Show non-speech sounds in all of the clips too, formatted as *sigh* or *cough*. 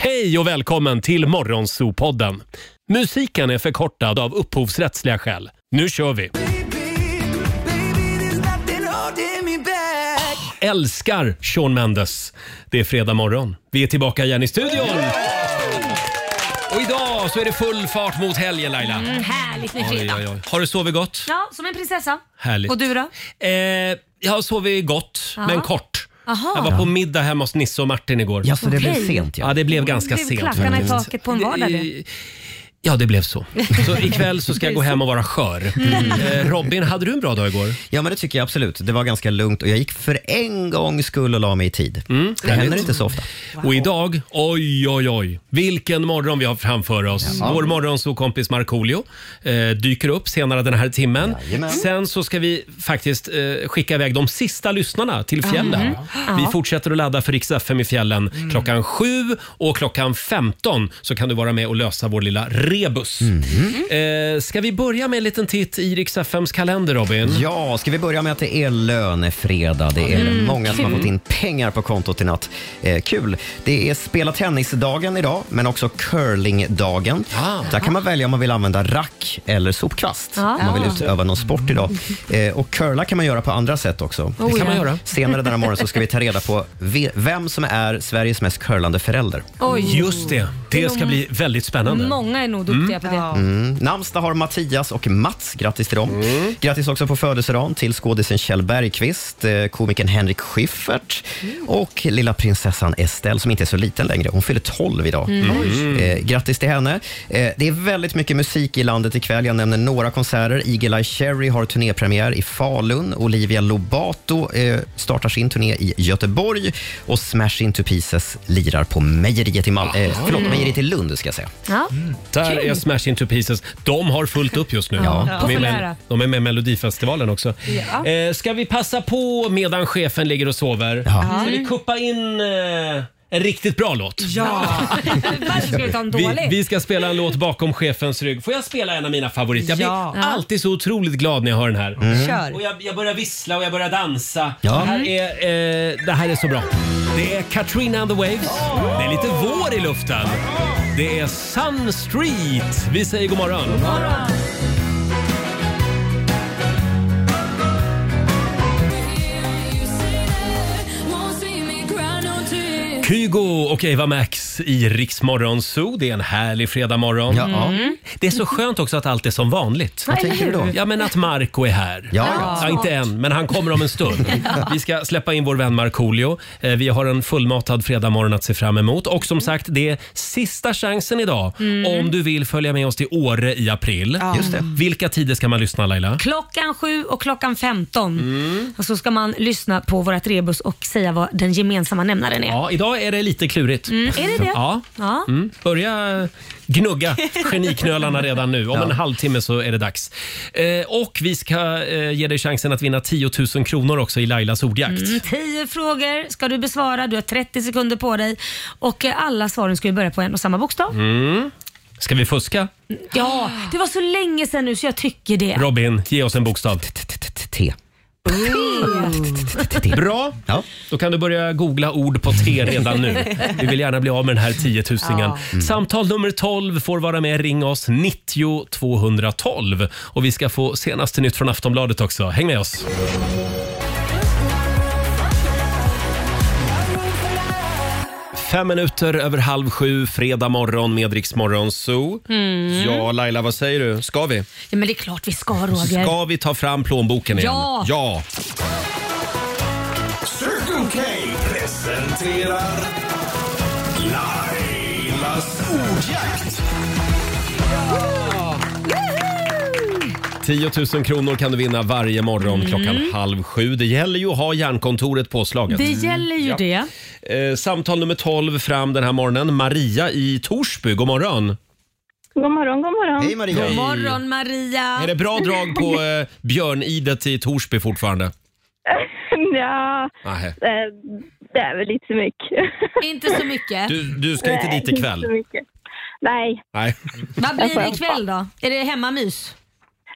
Hej och välkommen till Morgonzoo-podden. Musiken är förkortad av upphovsrättsliga skäl. Nu kör vi! Älskar Sean Mendes. Det är fredag morgon. Vi är tillbaka igen i studion. Och idag så är det full fart mot helgen Laila. Mm, härligt med Oj, fredag. oj, oj. Har du sovit gott? Ja, som en prinsessa. Härligt. Och du då? Eh, jag har sovit gott, Ja. men kort. Aha. Jag var på middag hemma hos Nisse och Martin igår. Ja, så det Okej. blev sent ja. Ja, det blev ganska Blev sent. klackarna i faktiskt. taket på en vardag, du? Ja, det blev så. Så ikväll så ska jag gå hem och vara skör. Mm. Eh, Robin, hade du en bra dag igår? Ja, men det tycker jag absolut. Det var ganska lugnt och jag gick för en gångs skull och la mig i tid. Mm. det händer inte så ofta. Och idag, oj, oj, oj, vilken morgon vi har framför oss. Vår morgonsåkompis Markoolio eh, dyker upp senare den här timmen. Jajamän. Sen så ska vi faktiskt eh, skicka iväg de sista lyssnarna till fjällen. Mm. Vi fortsätter att ladda för Rix FM i fjällen klockan 7 och klockan 15 så kan du vara med och lösa vår lilla rebus. Mm. Eh, ska vi börja med en liten titt i Rix FMs kalender, Robin? Ja, ska vi börja med att det är lönefredag. Det är Mm. många som har fått in pengar på kontot i natt. Eh, kul. Det är spela tennisdagen idag, men också curlingdagen. Ah. Där kan man välja om man vill använda rack eller sopkvast om man vill utöva någon sport idag. Eh, och curla kan man göra på andra sätt också. Oh, Det kan man ja. göra. Senare denna morgon så ska vi ta reda på ve- vem som är Sveriges mest curlande förälder. Oj, Just det, det ska bli väldigt spännande. många är nog duktiga på det. Mm. Namnsdag har Mattias och Mats. Grattis till dem. Mm. Grattis också på födelsedagen till skådisen Kjell Bergqvist, eh, komikern Henrik Schyffert Mm. och lilla prinsessan Estelle som inte är så liten längre. Hon fyller 12 idag. Mm. Eh, Grattis till henne. Eh, Det är väldigt mycket musik i landet ikväll. Jag nämner några konserter. Eagle-Eye Cherry har turnépremiär i Falun. Olivia Lobato eh, startar sin turné i Göteborg och Smash Into Pieces lirar på Mejeriet i, Mal- eh, förlåt, mejeriet i Lund. Ska jag säga. Ja. Mm. Där är Smash Into Pieces. De har fullt upp just nu. Ja. De, är med, Populära. de är med i Melodifestivalen också. Ja. Eh, ska vi passa på medan chefen ligger och sover? Ja. Ska vi Mm. kuppa in eh, en riktigt bra låt? Varför ska du ta en Vi, dålig? vi ska spela en låt bakom chefens rygg. Får jag spela en av mina favoriter? Jag blir Ja. alltid så otroligt glad när jag hör den här. Mm. Och Kör. jag, jag börjar vissla och jag börjar dansa. Ja. Det, här är, eh, det här är så bra. Det är Katrina and the Waves. Det är lite vår i luften. Det är Sun Street. Vi säger god morgon. Kygo och Eva Max i Riksmorgon Zoo. Det är en härlig fredagmorgon. Ja, ja. Det är så skönt också att allt är som vanligt. Vad tänker du då? Ja, men att Marco är här. Ja, ja. Ja, inte än, men han kommer om en stund. Vi ska släppa in vår vän Markoolio. Eh, Vi har en fullmatad fredagmorgon att se fram emot. Och som sagt, det är sista chansen idag om du vill följa med oss till Åre i april. Just det. Vilka tider ska man lyssna Laila? Klockan sju och klockan 15. Mm. Och så ska man lyssna på vårat rebus och säga vad den gemensamma nämnaren är. Ja, idag är det lite klurigt. Mm, är det det? Ja. Ja. Mm. Börja gnugga geniknölarna redan nu. Om en halvtimme så är det dags. Eh, och vi ska eh, ge dig chansen att vinna 10 000 kronor också i Lailas ordjakt. Mm. Mm, Tio frågor ska du besvara. Du har 30 sekunder på dig. Och eh, alla svaren ska ju börja på en och samma bokstav. Mm. Ska vi fuska? Ja, det var så länge sedan nu så jag tycker det. Robin, ge oss en bokstav. T. Mm. Bra! Ja. Då kan du börja googla ord på T redan nu. Vi vill gärna bli av med den här 10 000. Mm. Samtal nummer 12 får vara med. Ring oss 90 212. Och vi ska få senaste nytt från Aftonbladet också. Häng med oss! Fem minuter över halv sju, fredag morgon med Rix Morgon Zoo. Ja, Laila, vad säger du? Ska vi? Mm. Ja, men det är klart vi ska Roger. Ska vi ta fram plånboken igen? Ja. ja. Circle K presenterar Lailas ordjakt. 10 000 kronor kan du vinna varje morgon klockan halv sju. Det gäller ju att ha hjärnkontoret påslaget. Mm. Det gäller ju det. Eh, samtal nummer 12 fram den här morgonen. Maria i Torsby, god morgon. God morgon, god morgon. Hej Maria. Hej. God morgon Maria. Är det bra drag *laughs* på eh, björnidet i Torsby fortfarande? Ja, Nej. eh, det är väl lite för mycket. Inte så mycket. Du, du ska inte dit ikväll? Inte så mycket. Nej, Nej. Vad blir det ikväll då? Är det hemmamys?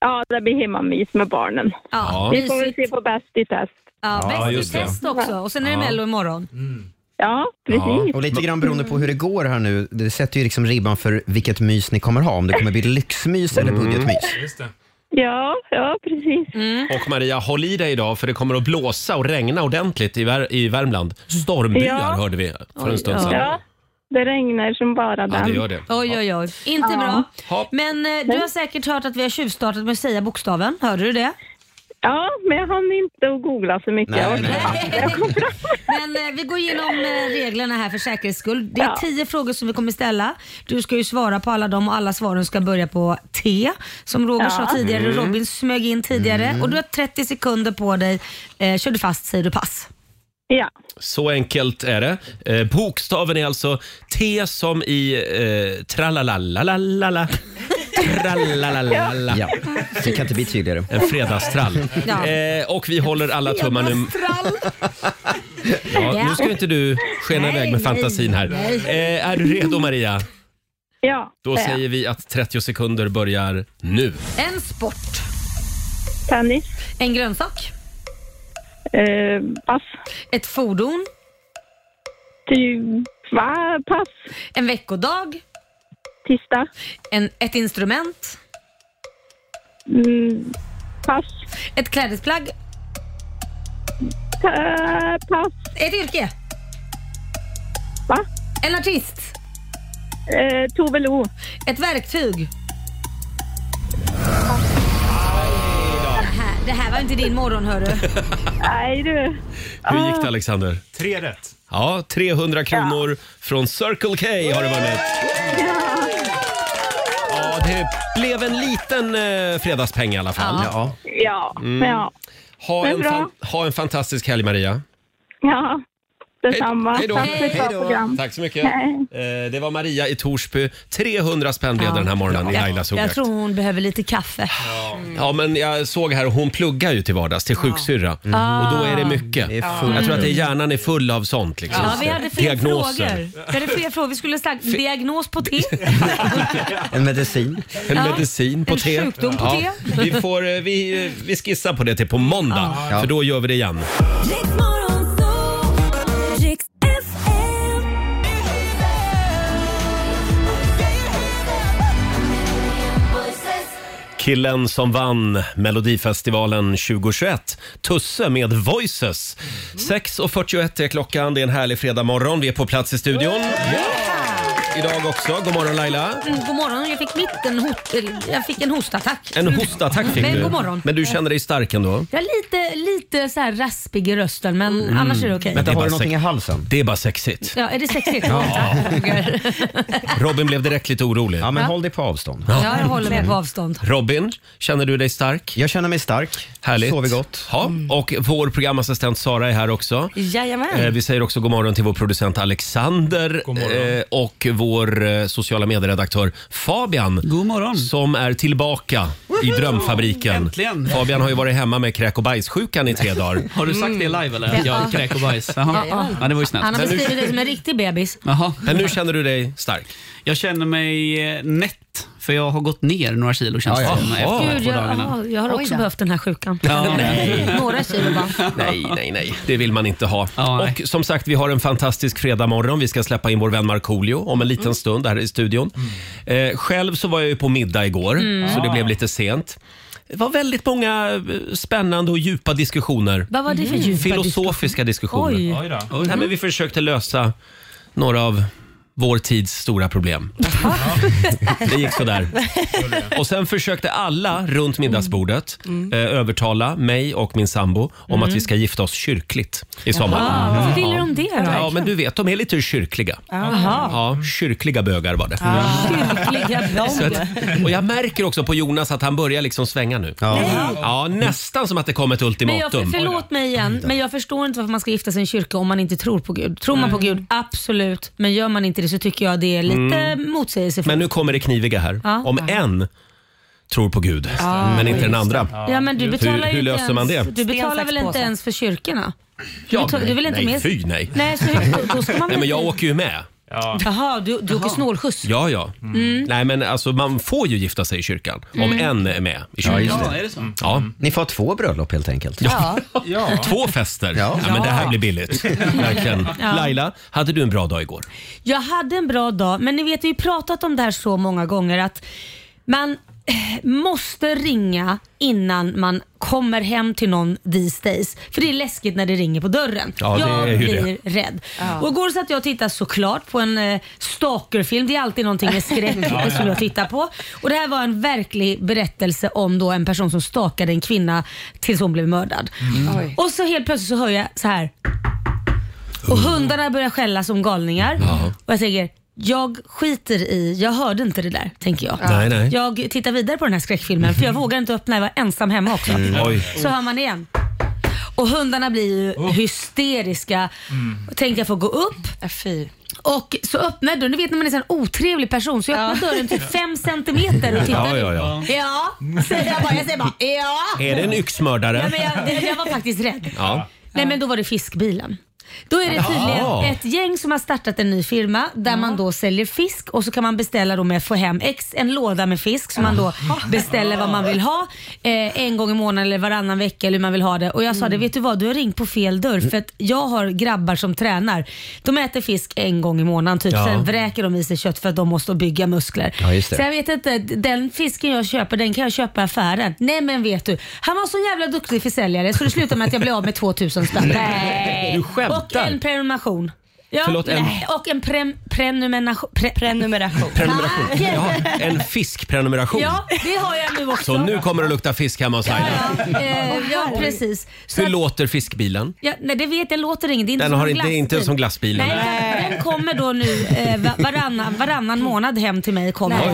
ja, det blir hemmamys med barnen. Ja, Ja. Vi får väl mysigt. se på Bäst i test. Ja, Ja, Bäst just i det. test också och sen är det Mello imorgon. Mm. Ja, precis. Och lite grann beroende på hur det går här nu, det sätter ju liksom ribban för vilket mys ni kommer ha. Om det kommer bli lyxmys eller Mm. budgetmys. Mm. Just det. Mm. Ja, ja precis. Mm. Och Maria, håll i dig idag för det kommer att blåsa och regna ordentligt i, Vär- i Värmland. Stormbyar Ja. hörde vi för en Oj, stund ja. sedan. Ja, det regnar som bara Ja, den. det gör det. Oj, oj, oj. Inte bra. Ja. Men eh, du har säkert hört att vi har tjuvstartat med att säga bokstaven. Hörde du det? Ja, men jag hann inte att googla så mycket. Nej, Jag nej. orkar inte. Jag kom fram. *laughs* Men eh, vi går igenom eh, reglerna här för säkerhets skull. Det är Ja. tio frågor som vi kommer ställa. Du ska ju svara på alla dem och alla svaren ska börja på T. Som Roger Ja. sa tidigare Mm. och Robin smög in tidigare. Och du har 30 sekunder på dig. Eh, kör du fast säger du pass. Ja, Så enkelt är det. Eh, bokstaven är alltså T som i eh, trallalalalala. Trallalalalala. Ja, det kan inte bli tydligare. En fredagstrall. Ja. Eh, och vi håller alla tummar nu. Trall. Ja, nu ska inte du skena Nej, iväg med nej, fantasin här. nej. Eh, är du redo Maria? ja. Då det är säger vi att 30 sekunder börjar nu. En sport. jag. Tennis. En grönsak. Eh, pass. Ett fordon. Ty, va? Pass. En veckodag. Tisdag. En, ett instrument. Mm, pass. Ett klädesplagg. Ta, pass. Ett yrke. Va? En artist. Eh, Tove Lo. Ett verktyg. Det här, det här var inte din morgon hörru. *laughs* Nej du. Ah. Hur Ah. gick det Alexander? Tre rätt. Ja, 300 kronor från Circle K har du vunnit. Ja, det blev en liten eh, fredagspeng i alla fall. Ja. Mm. Ja, ja. Ha, Det är en bra. fan, ha en fantastisk helg Maria. Ja, detsamma. Hej- hej då. Tack för ett bra Hej då. program. Tack så mycket. Hej. Eh, det var Maria i Torsby. 300 spänn blev det den här morgonen i Lailas jag ordjakt. tror hon behöver lite kaffe. Ja, men jag såg här, hon pluggar ju till vardags till sjuksyrra. Och då är det mycket. Det är fullt. Jag tror att det är hjärnan är full av sånt. Liksom. Ja, vi hade fler Diagnoser. frågor. Vi hade fler frågor. Vi skulle ha sagt diagnos på *laughs* T. En medicin. En Ja. medicin på En te. sjukdom på te. Vi, får, eh, vi, eh, vi skissar på det till på måndag, för då gör vi det igen. Killen som vann Melodifestivalen 2021, Tusse med Voices. 6.41 är klockan, det är en härlig fredagmorgon. Vi är på plats i studion. Idag också. God morgon Laila. Mm, God morgon, jag fick mitt en, hot, eller, jag fick en hostattack. En hostattack fick Men du. god morgon. Mm. Men du känner dig stark ändå? Jag är lite, lite så här raspig i rösten men annars är det okej. Mm. Men- Vänta, Det är har bara du någonting i sex. halsen? Det är bara sexigt. Ja, är det *laughs* sexigt? Ja. Robin blev direkt lite orolig. Ja, men håll dig på avstånd. ja, jag håller mig på avstånd. Robin, känner du dig stark? Jag känner mig stark. Härligt. Sover gott. Ja, Mm. och vår programassistent Sara är här också. Eh, Jajamän. Vi säger också god morgon till vår producent Alexander God morgon. eh, och vår eh, sociala medieredaktör Fabian. God morgon. Som är tillbaka i drömfabriken. Äntligen. Fabian har ju varit hemma med kräk och bajssjukan i tre *laughs* dagar. Mm. Har du sagt det live eller? Att Jag kräk och bajs. Jaha. Ja, det var ju Han snällt. har beskrivit dig som en riktig bebis. Jaha. Men nu känner du dig stark. Jag känner mig eh, nätt, för jag har gått ner några kilo känns det Ja, ja. som, efter de här Gud, två jag, dagarna. ja, jag har också behövt den här sjukan. Ja, nej. *laughs* Några kilo bara. Nej, nej, nej. Det vill man inte ha. Ja, nej. och som sagt, vi har en fantastisk fredagmorgon. Vi ska släppa in vår vän Markoolio om en liten stund här i studion. Eh, själv så var jag ju på middag igår, så det blev lite sent. Det var väldigt många eh, spännande och djupa diskussioner. Vad var det för Mm. djupa Filosofiska diskussioner. Oj. Oj då. Nej, men vi försökte lösa några av vår tids stora problem. *laughs* Det *laughs* gick sådär. Och sen försökte alla runt middagsbordet Mm. eh, övertala mig och min sambo om att vi ska gifta oss kyrkligt i sommar. Mm. Ja, varför Mm. ville de det Ja, då? men du vet, de är lite kyrkliga. Ja, kyrkliga bögar var det. Kyrkliga Så blond. att, och jag märker också på Jonas att han börjar liksom svänga nu. Ja. Ja, nästan som att det kom ett Men jag, ultimatum. förlåt mig igen, men jag förstår inte varför man ska gifta sig i en kyrka om man inte tror på Gud. Tror man på Gud, absolut. Men gör man inte det så tycker jag det är lite motsägelsefullt. Mm. Men nu kommer det kniviga här. Ja. Om en tror på Gud, men inte den andra. Ja, men du betalar ju hur inte löser man ens, det? Du betalar väl inte Sten, sax, ens för kyrkorna? Ja, du, tar- du vill inte nej, med? fy nej. Nej, så hur, då ska man väl *laughs* Nej, men inte- jag åker ju med. Ja. Jaha, du, du åker snålskjuts? Ja, ja. Mm. Nej, men alltså man får ju gifta sig i kyrkan om en är med i kyrkan. ja, är det så? Mm. Ja. Ni får ha två bröllop helt enkelt. Ja. Två fester. Ja. Ja. men det här *laughs* blir billigt. Verkligen. Laila, hade du en bra dag igår? Jag hade en bra dag, men ni vet vi har pratat om det här så många gånger att man eh, måste ringa innan man kommer hem till någon these days. För det är läskigt när det ringer på dörren. Ja, det jag är ju det. blir rädd. Och igår satt jag och tittade såklart på en eh, stalkerfilm. Det är alltid någonting med *laughs* skräck som jag tittar på. Och det här var en verklig berättelse om då en person som stalkade en kvinna tills hon blev mördad. Oj. Och så helt plötsligt så hör jag så här och hundarna börjar skälla som galningar. Och jag tänker, jag skiter i, jag hörde inte det där, tänker jag. Nej, nej. Mm. Jag tittar vidare på den här skräckfilmen för jag vågar inte öppna, jag var ensam hemma också. Oj. Oh. Så hör man igen. Och hundarna blir ju hysteriska. Mm. Och Tänker jag får gå upp Äh, Fy. och så öppnar jag dörren. Du vet när man är en sån otrevlig person så jag öppnar dörren typ fem centimeter och tittar. Ja, ja, ja. ja, säger jag bara. Jag säger bara ja. Är det en Ja, yxmördare? men jag, det- jag var faktiskt rädd. Ja. Nej men då var det fiskbilen. Då är det tydligen Ja. ett gäng som har startat en ny firma där man då säljer fisk och så kan man beställa då med att få hem ex, en låda med fisk som man då beställer vad man vill ha eh, en gång i månaden eller varannan vecka eller hur man vill ha det. Och jag sa Mm. det, vet du vad du har ringt på fel dörr för att jag har grabbar som tränar. De äter fisk en gång i månaden typ, Ja. sen vräker de i sig kött för att de måste bygga muskler. Ja, just det. Så jag vet inte, den fisken jag köper den kan jag köpa i affären. Nej men vet du, han var så jävla duktig försäljare så det slutade med att jag blev av med 2000 spänn. Nej. Du skämtar. Och en prenumeration. Ja, Förlåt, en- nej. Och en prem, prenumeration. Pre, Prenumeration. Prenumeration. Ah, Ja, en fiskprenumeration. ja, det har jag nu också. Så nu kommer det lukta fisk hemma hos Laila. Ja, eh, ja precis. Så Hur att, låter fiskbilen? ja, nej, det vet jag, låter inget. Det är inte Den som har en inte- det är inte som glassbilen. Nej, den kommer då nu eh, va- varannan, varannan månad hem till mig. Kommer.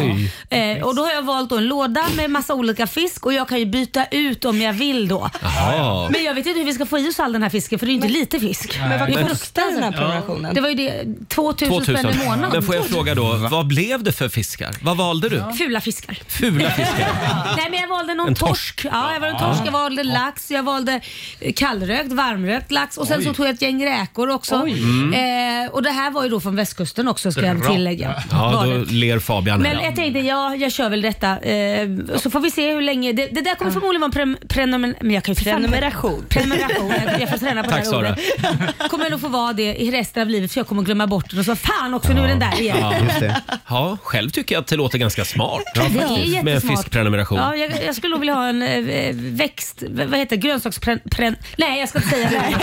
Oj. Eh, och då har jag valt då en låda med massa olika fisk och jag kan ju byta ut om jag vill då. Jaha. Men jag vet inte hur vi ska få i oss all den här fisken för det är ju inte lite fisk. Men Det är vad kostar den här prenumerationen? Det var ju det, 2000, 2000. spänn i månaden. Men får jag fråga då, vad blev det för fiskar? Vad valde du? Fula fiskar. Fula fiskar. Nej men jag valde någon En torsk. torsk. Ja, jag valde en torsk, jag valde lax, jag valde eh, kallrökt, varmrökt lax och sen så tog jag ett gäng räkor också. Eh, och det här var ju då från västkusten också ska jag tillägga. Ja, Var då det. ler Fabian Men här. jag tänkte, ja, jag kör väl detta. Eh, så får vi se hur länge. Det, det där kommer förmodligen vara en pre, prenumer, men jag kan ju för fan- Prenumeration. Prenumeration. Jag, jag får träna på Tack, det här Sara. ordet. Kommer jag nog få vara det i resten av livet för jag kommer glömma bort den och så fan också nu är den där igen. Ja. Just det. Ja, själv tycker jag att det låter ganska smart. det är Med en jättesmart. fiskprenumeration. Ja, jag, jag skulle nog vilja ha en eh, växt... Vad heter det? Grönsakspren... pren- Nej, jag ska inte säga det.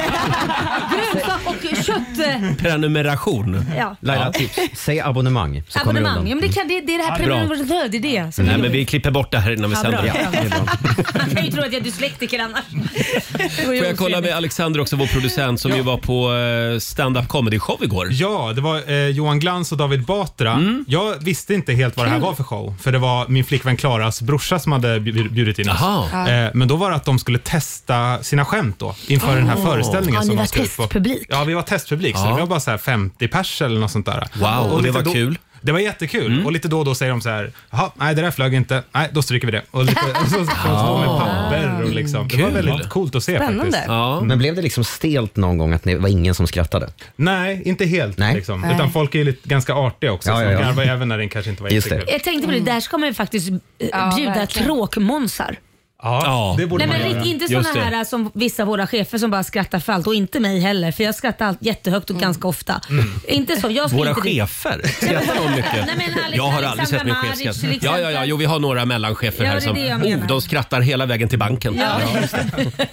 Grönsak och kött... eh, Prenumeration. Ja. Laila, tips. Säg abonnemang så kommer du Abonnemang. undan. Mm. Ja, men det, kan, det, det är det här Ja, bra. prenumeration. Det är det som Nej, är men roligt. vi klipper bort det här innan vi Ja, bra. sänder. Ja, det är bra. Man kan ju tro att jag är dyslektiker annars. Får jag kolla med Alexander också, vår producent som ju var på eh, stand-up comedy show igår. Ja, det var eh, Johan Glans och David Batra. Jag visste inte helt vad det här var för show, för det var min flickvän Klaras brorsa som hade bjud- bjudit in oss. Jaha. Eh, men då var det att de skulle testa sina skämt då, inför den här föreställningen. Ja, ni som var de skulle få. testpublik. Ja, vi var testpublik, så det var bara så här 50 pers eller något sånt där. Wow, och det lite var kul? Det var jättekul och lite då och då säger de så här, jaha, nej det där flög inte, nej då stryker vi det. Och, lite, och så får de stå med papper och liksom. Det var Kul. väldigt coolt att se faktiskt. Spännande. Ja. Men blev det liksom stelt någon gång att det var ingen som skrattade? Nej, inte helt. Nej. Liksom. Nej. Utan folk är ju lite, ganska artiga också. Ja, så ja, de ja. garvar även när den kanske inte var Just jättekul. Jag tänkte på det, där ska man ju faktiskt eh, Ja, bjuda verkligen. tråkmånsar. Ja, Ja. det borde Nej men man göra. rikt- inte Just sådana det. här eh, alltså- som vissa av våra chefer som bara skrattar för allt och inte mig heller för jag skrattar allt jättehögt Mm. och ganska ofta. Inte så, jag ska Våra inte dit. chefer skrattar de mycket? Nej, men Alex- jag har aldrig sett min Alexandra chef Maric, skratta. till Ja, exempel. ja, ja, jo vi har några mellanchefer Ja, här det är som det jag oh, menar. de skrattar hela vägen till banken. Ja. nej,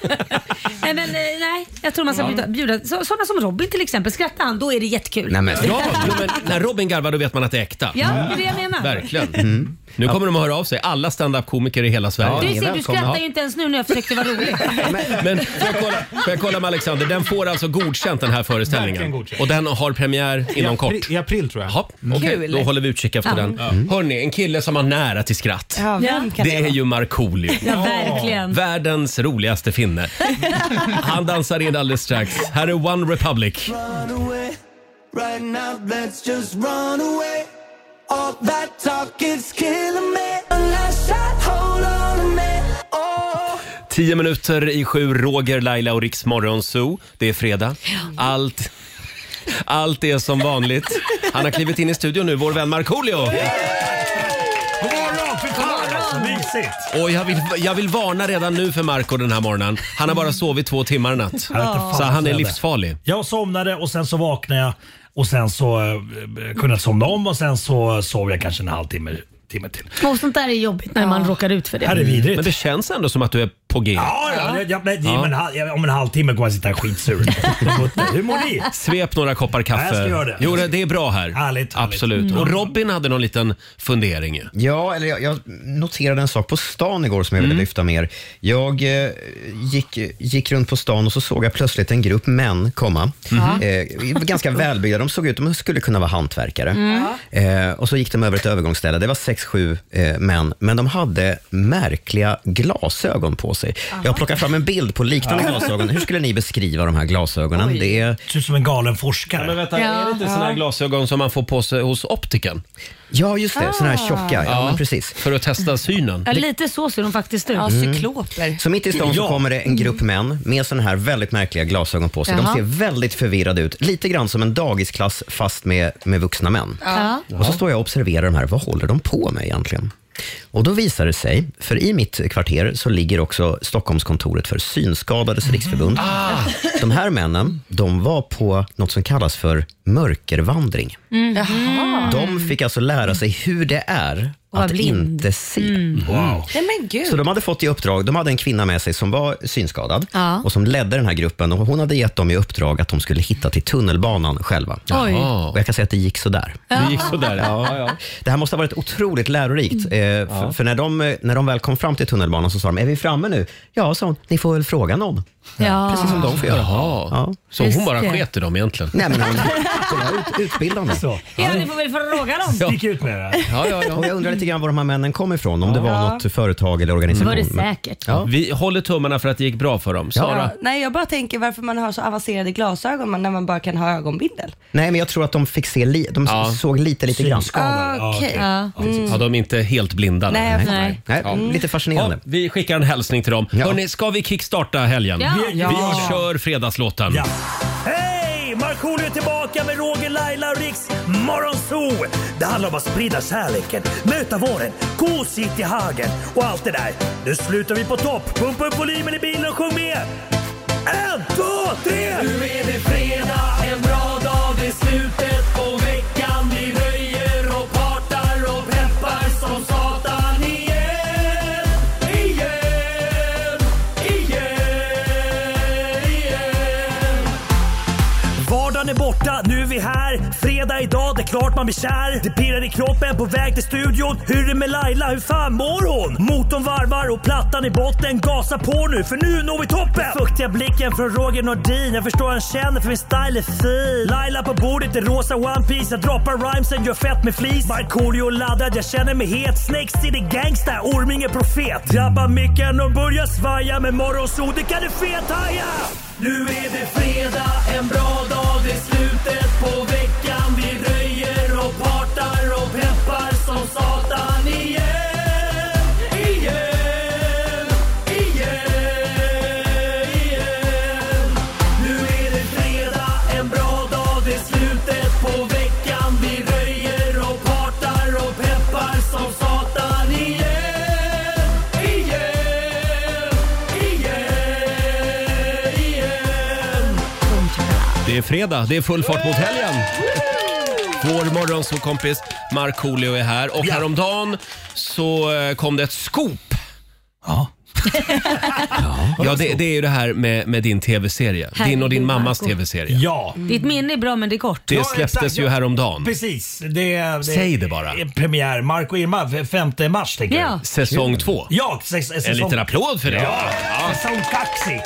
men, eh, nej, jag tror man ska bjuda, bjuda så, sådana som Robin till exempel. Skrattar han, då är det jättekul. Nej, men, Ja, jo, men när Robin garvar då vet man att det är äkta. Mm. Ja, det är det jag menar. Verkligen. Nu kommer de att höra av sig, alla standup-komiker i hela Ja, Sverige. Du ni är ser, du välkomna. skrattar ju inte ens nu när jag försökte vara rolig. *laughs* Men får jag, kolla, får jag kolla med Alexander, den får alltså godkänt den här Verkligen föreställningen. godkänt. Och den har premiär inom I kort. apri- I april tror jag. Mm. Ja, okej, Kul. då håller vi utkik efter den. Hörni, en kille som har nära till skratt. Ja, vem kan Det det är vara? ju Markoolio. Ja, verkligen. Världens *laughs* roligaste finne. Han dansar in alldeles strax. Här är One Republic. Run away, right now let's just run away. All that talk is killing me. Unless I hold on a minute. Oh. Tio minuter i sju, Roger, Laila och Riks Morgonzoo. Det är fredag. Allt... Allt är som vanligt. Han har klivit in i studion nu, vår vän Markoolio. God morgon! Fy fan alltså, mysigt! Och jag vill, jag vill varna redan nu för Marco den här morgonen. Han har bara sovit två timmar i natt. Ja. Så han är livsfarlig. Jag somnade och sen så vaknade jag och sen så eh, kunde jag somna om och sen så sov jag kanske en halvtimme timme till. Och sånt där är jobbigt när man råkar ut för det. Det här är Men vidrigt. det känns ändå som att du är på G. Ja, ja, ja, ja, men, men, hal- om en halvtimme kommer jag sitta skitsur. Hur mår ni? Svep några koppar kaffe. Ja, jag ska göra det. Jo, det det är bra här. Härligt, Mm. härligt. Absolut. Och Robin hade någon liten fundering ju. Ja, eller jag, jag noterade en sak på stan igår som jag ville lyfta med er. Jag eh, gick, gick runt på stan och så såg jag plötsligt en grupp män komma. Eh, ganska välbyggda. De såg ut de skulle kunna vara hantverkare. Eh, och så gick de över ett övergångsställe. Det var sex, sju eh, män, men de hade märkliga glasögon på sig. Jag har plockat fram en bild på liknande glasögon. Hur skulle ni beskriva de här glasögonen? Det är, Ser ut som en galen forskare. Men vänta, Ja, är det inte såna här glasögon som man får på sig hos optiken? ja, just det. Såna här tjocka. Ja, men precis. För att testa synen? Ah. Ja, lite så ser de faktiskt ut. Ja, cykloper. Så mitt i stan så kommer det en grupp män med sådana här väldigt märkliga glasögon på sig. Jaha. De ser väldigt förvirrade ut. Lite grann som en dagisklass fast med, med vuxna män. Ja. Och så står jag och observerar de här. Vad håller de på med egentligen? Och då visar det sig, för i mitt kvarter så ligger också Stockholmskontoret för Synskadades Mhm. Riksförbund. Ah. De här männen, de var på något som kallas för mörkervandring. Mhm. Jaha. De fick alltså lära sig hur det är Mm. vara att blind. Mm. inte se. Mm. Wow. Nej men gud. Så de hade fått i uppdrag, de hade en kvinna med sig som var synskadad Ja. och som ledde den här gruppen och hon hade gett dem i uppdrag att de skulle hitta till tunnelbanan själva. Oj. Och jag kan säga att det gick sådär. Det gick sådär. Ja, Mm. ja. Det här måste ha varit otroligt lärorikt. Eh, för, för när de, eh, när de väl kom fram till tunnelbanan så sa de, är vi framme nu? Ja, sa hon, ni får väl fråga någon. Ja. Precis som de får *laughs* göra. Jaha. Ja. Så hon Just bara det. sket i dem egentligen? Nej, men hon, hon var ut, utbildande. Så. Ja, ni får väl fråga dem. Gick ut med det. Ja, ja, Och ja. jag undrar lite grann var de här männen kom ifrån, om det var något företag eller organisation. var det Men- säkert. Ja. Vi håller tummarna för att det gick bra för dem. Sara? Ja, nej jag bara tänker varför man har så avancerade glasögon man- när man bara kan ha ögonbindel. Nej, men jag tror att de fick se, li, de Ja. såg lite, lite grann. Ah, Synskadad. Ja, Okej. Ja. Mm. Ja, de är inte helt blinda. Nej, nej. jag fattar. Mm. Nej. Nej, Lite Ja, fascinerande. vi skickar en hälsning till dem. Ja. Hörrni, ska vi kickstarta helgen? Ja. Vi, Ja. vi kör fredagslåten. Ja. Hej! Markoolio är tillbaka med Roger, Laila och Riks Morgonzoo! Det handlar om att sprida kärleken, möta våren, gosigt i hagen och allt det där. Nu slutar vi på topp! Pumpa upp volymen i bilen och sjung med! En, två, tre! Nu är det fredag, en bra dag, det är slutet på veckan. Vi röjer och partar och peppar som satan igen, igen, igen, igen. Vardagen är borta, nu är vi här. Fredag idag, det är klart man blir kär. Det pirrar i kroppen på väg till studion. Hur är det med Laila, hur fan mår hon? Motorn varvar och plattan i botten. Gasa på nu, för nu når vi toppen! Den fuktiga blicken från Roger Nordin. Jag förstår han känner för min style är fin. Laila på bordet i rosa One Piece Jag droppar rhymesen, gör fett med flis. Markoolio laddad, jag känner mig het. Snake City gangsta, Orminge profet. Drabbar micken och börjar svaja. Med morgonsol, det kan du fethaja! Nu är det fredag, en bra dag, det är slutet på veckan. Vi röjer och partar och peppar som satan igen. Igen, igen, igen. Nu är det fredag, en bra dag, det är slutet på veckan. Vi röjer och partar och peppar som satan igen. Igen, igen, igen. Det är fredag, det är full fart mot helgen. Vår morgonsovkompis Markoolio är här och häromdagen så eh, kom det ett scoop. *laughs* Ja. Ja, det, det är ju det här med, med din tv-serie. Din och din Herregud, mammas Marco. tv-serie. ja. Ditt minne är bra men det är kort. Det Ja, släpptes exakt, ju ja. häromdagen. Precis. Det, det, Säg det bara. är Premiär. Marco och Irma, f- 5 mars tänker Ja. jag. Säsong två. Ja, sex, En säsong... liten applåd för det. Ja, säsong kaxig.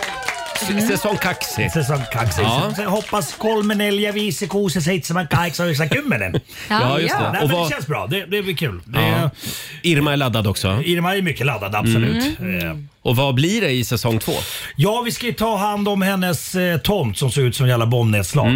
S- Säsong kaxig. Säsong kaxig. Ja. Så- så Hoppas kolmen elja viisi kuusi seitsemän kahdeksan yhdeksän kymmenen. Ja, just Ja, det. nej, Och men vad, det känns bra. Det, det blir kul. Det, ja. Irma är laddad också. Irma är mycket laddad, absolut. Eh, Och vad blir det i säsong två? Ja, vi ska ju ta hand om hennes eh, tomt som ser ut som jävla bombnedslag.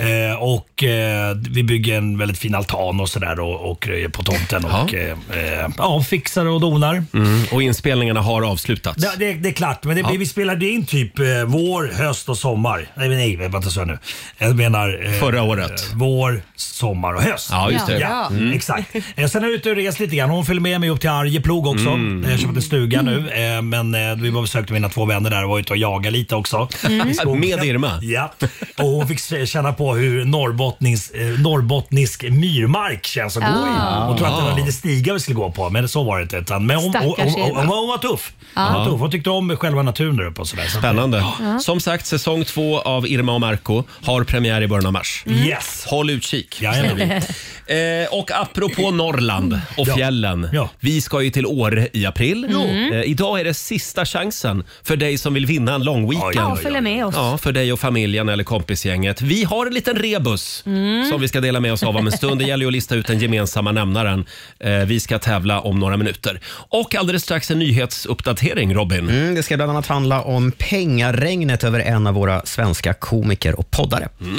Eh, och eh, vi bygger en väldigt fin altan och sådär och, och röjer på tomten och eh, eh, ja, fixar och donar. Mm. Och inspelningarna har avslutats. Det, det, det är klart, men det, Ja. vi spelade in typ eh, vår, höst och sommar. Nej, men nej, vänta så nu. Jag menar... eh, Förra året. eh, Vår, sommar och höst. Ja, just det. Ja, Mm. Exakt. Eh, Sen är jag ute och rest lite grann. Hon följer med mig upp till Arjeplog också. Mm. Mm. Jag köpte en stuga nu, eh, men eh, vi var och besökte mina två vänner där och var ute och jagade lite också. Mm. I skogen. Med Irma. Ja, och hon fick känna på hur norrbottnings, eh, norrbottnisk myrmark känns att gå Ah. i. Hon trodde att det var lite stigar vi skulle gå på, men så var det inte. Utan, men hon, hon, hon, Stackars hon, Irma. hon, var- hon var tuff. Ja. Hon, var tuff. hon tyckte om själva naturen där uppe och sådär. Så- Spännande. Ja. Som sagt, säsong två av Irma och Marco har premiär i början av mars. Mm. Yes. Håll utkik. Jajamän. *laughs* Eh, och apropå Norrland och Ja. fjällen. Vi ska ju till Åre i april. Jo. Mm. Eh, idag är det sista chansen för dig som vill vinna en lång weekend. Ja, följa med oss. Ja, för dig och familjen eller kompisgänget. Vi har en liten rebus Mm. som vi ska dela med oss av om en stund. Det gäller ju att lista ut den gemensamma nämnaren. Eh, vi ska tävla om några minuter. Och alldeles strax en nyhetsuppdatering, Robin. Mm, det ska bland annat handla om pengaregnet över en av våra svenska komiker och poddare. Mm.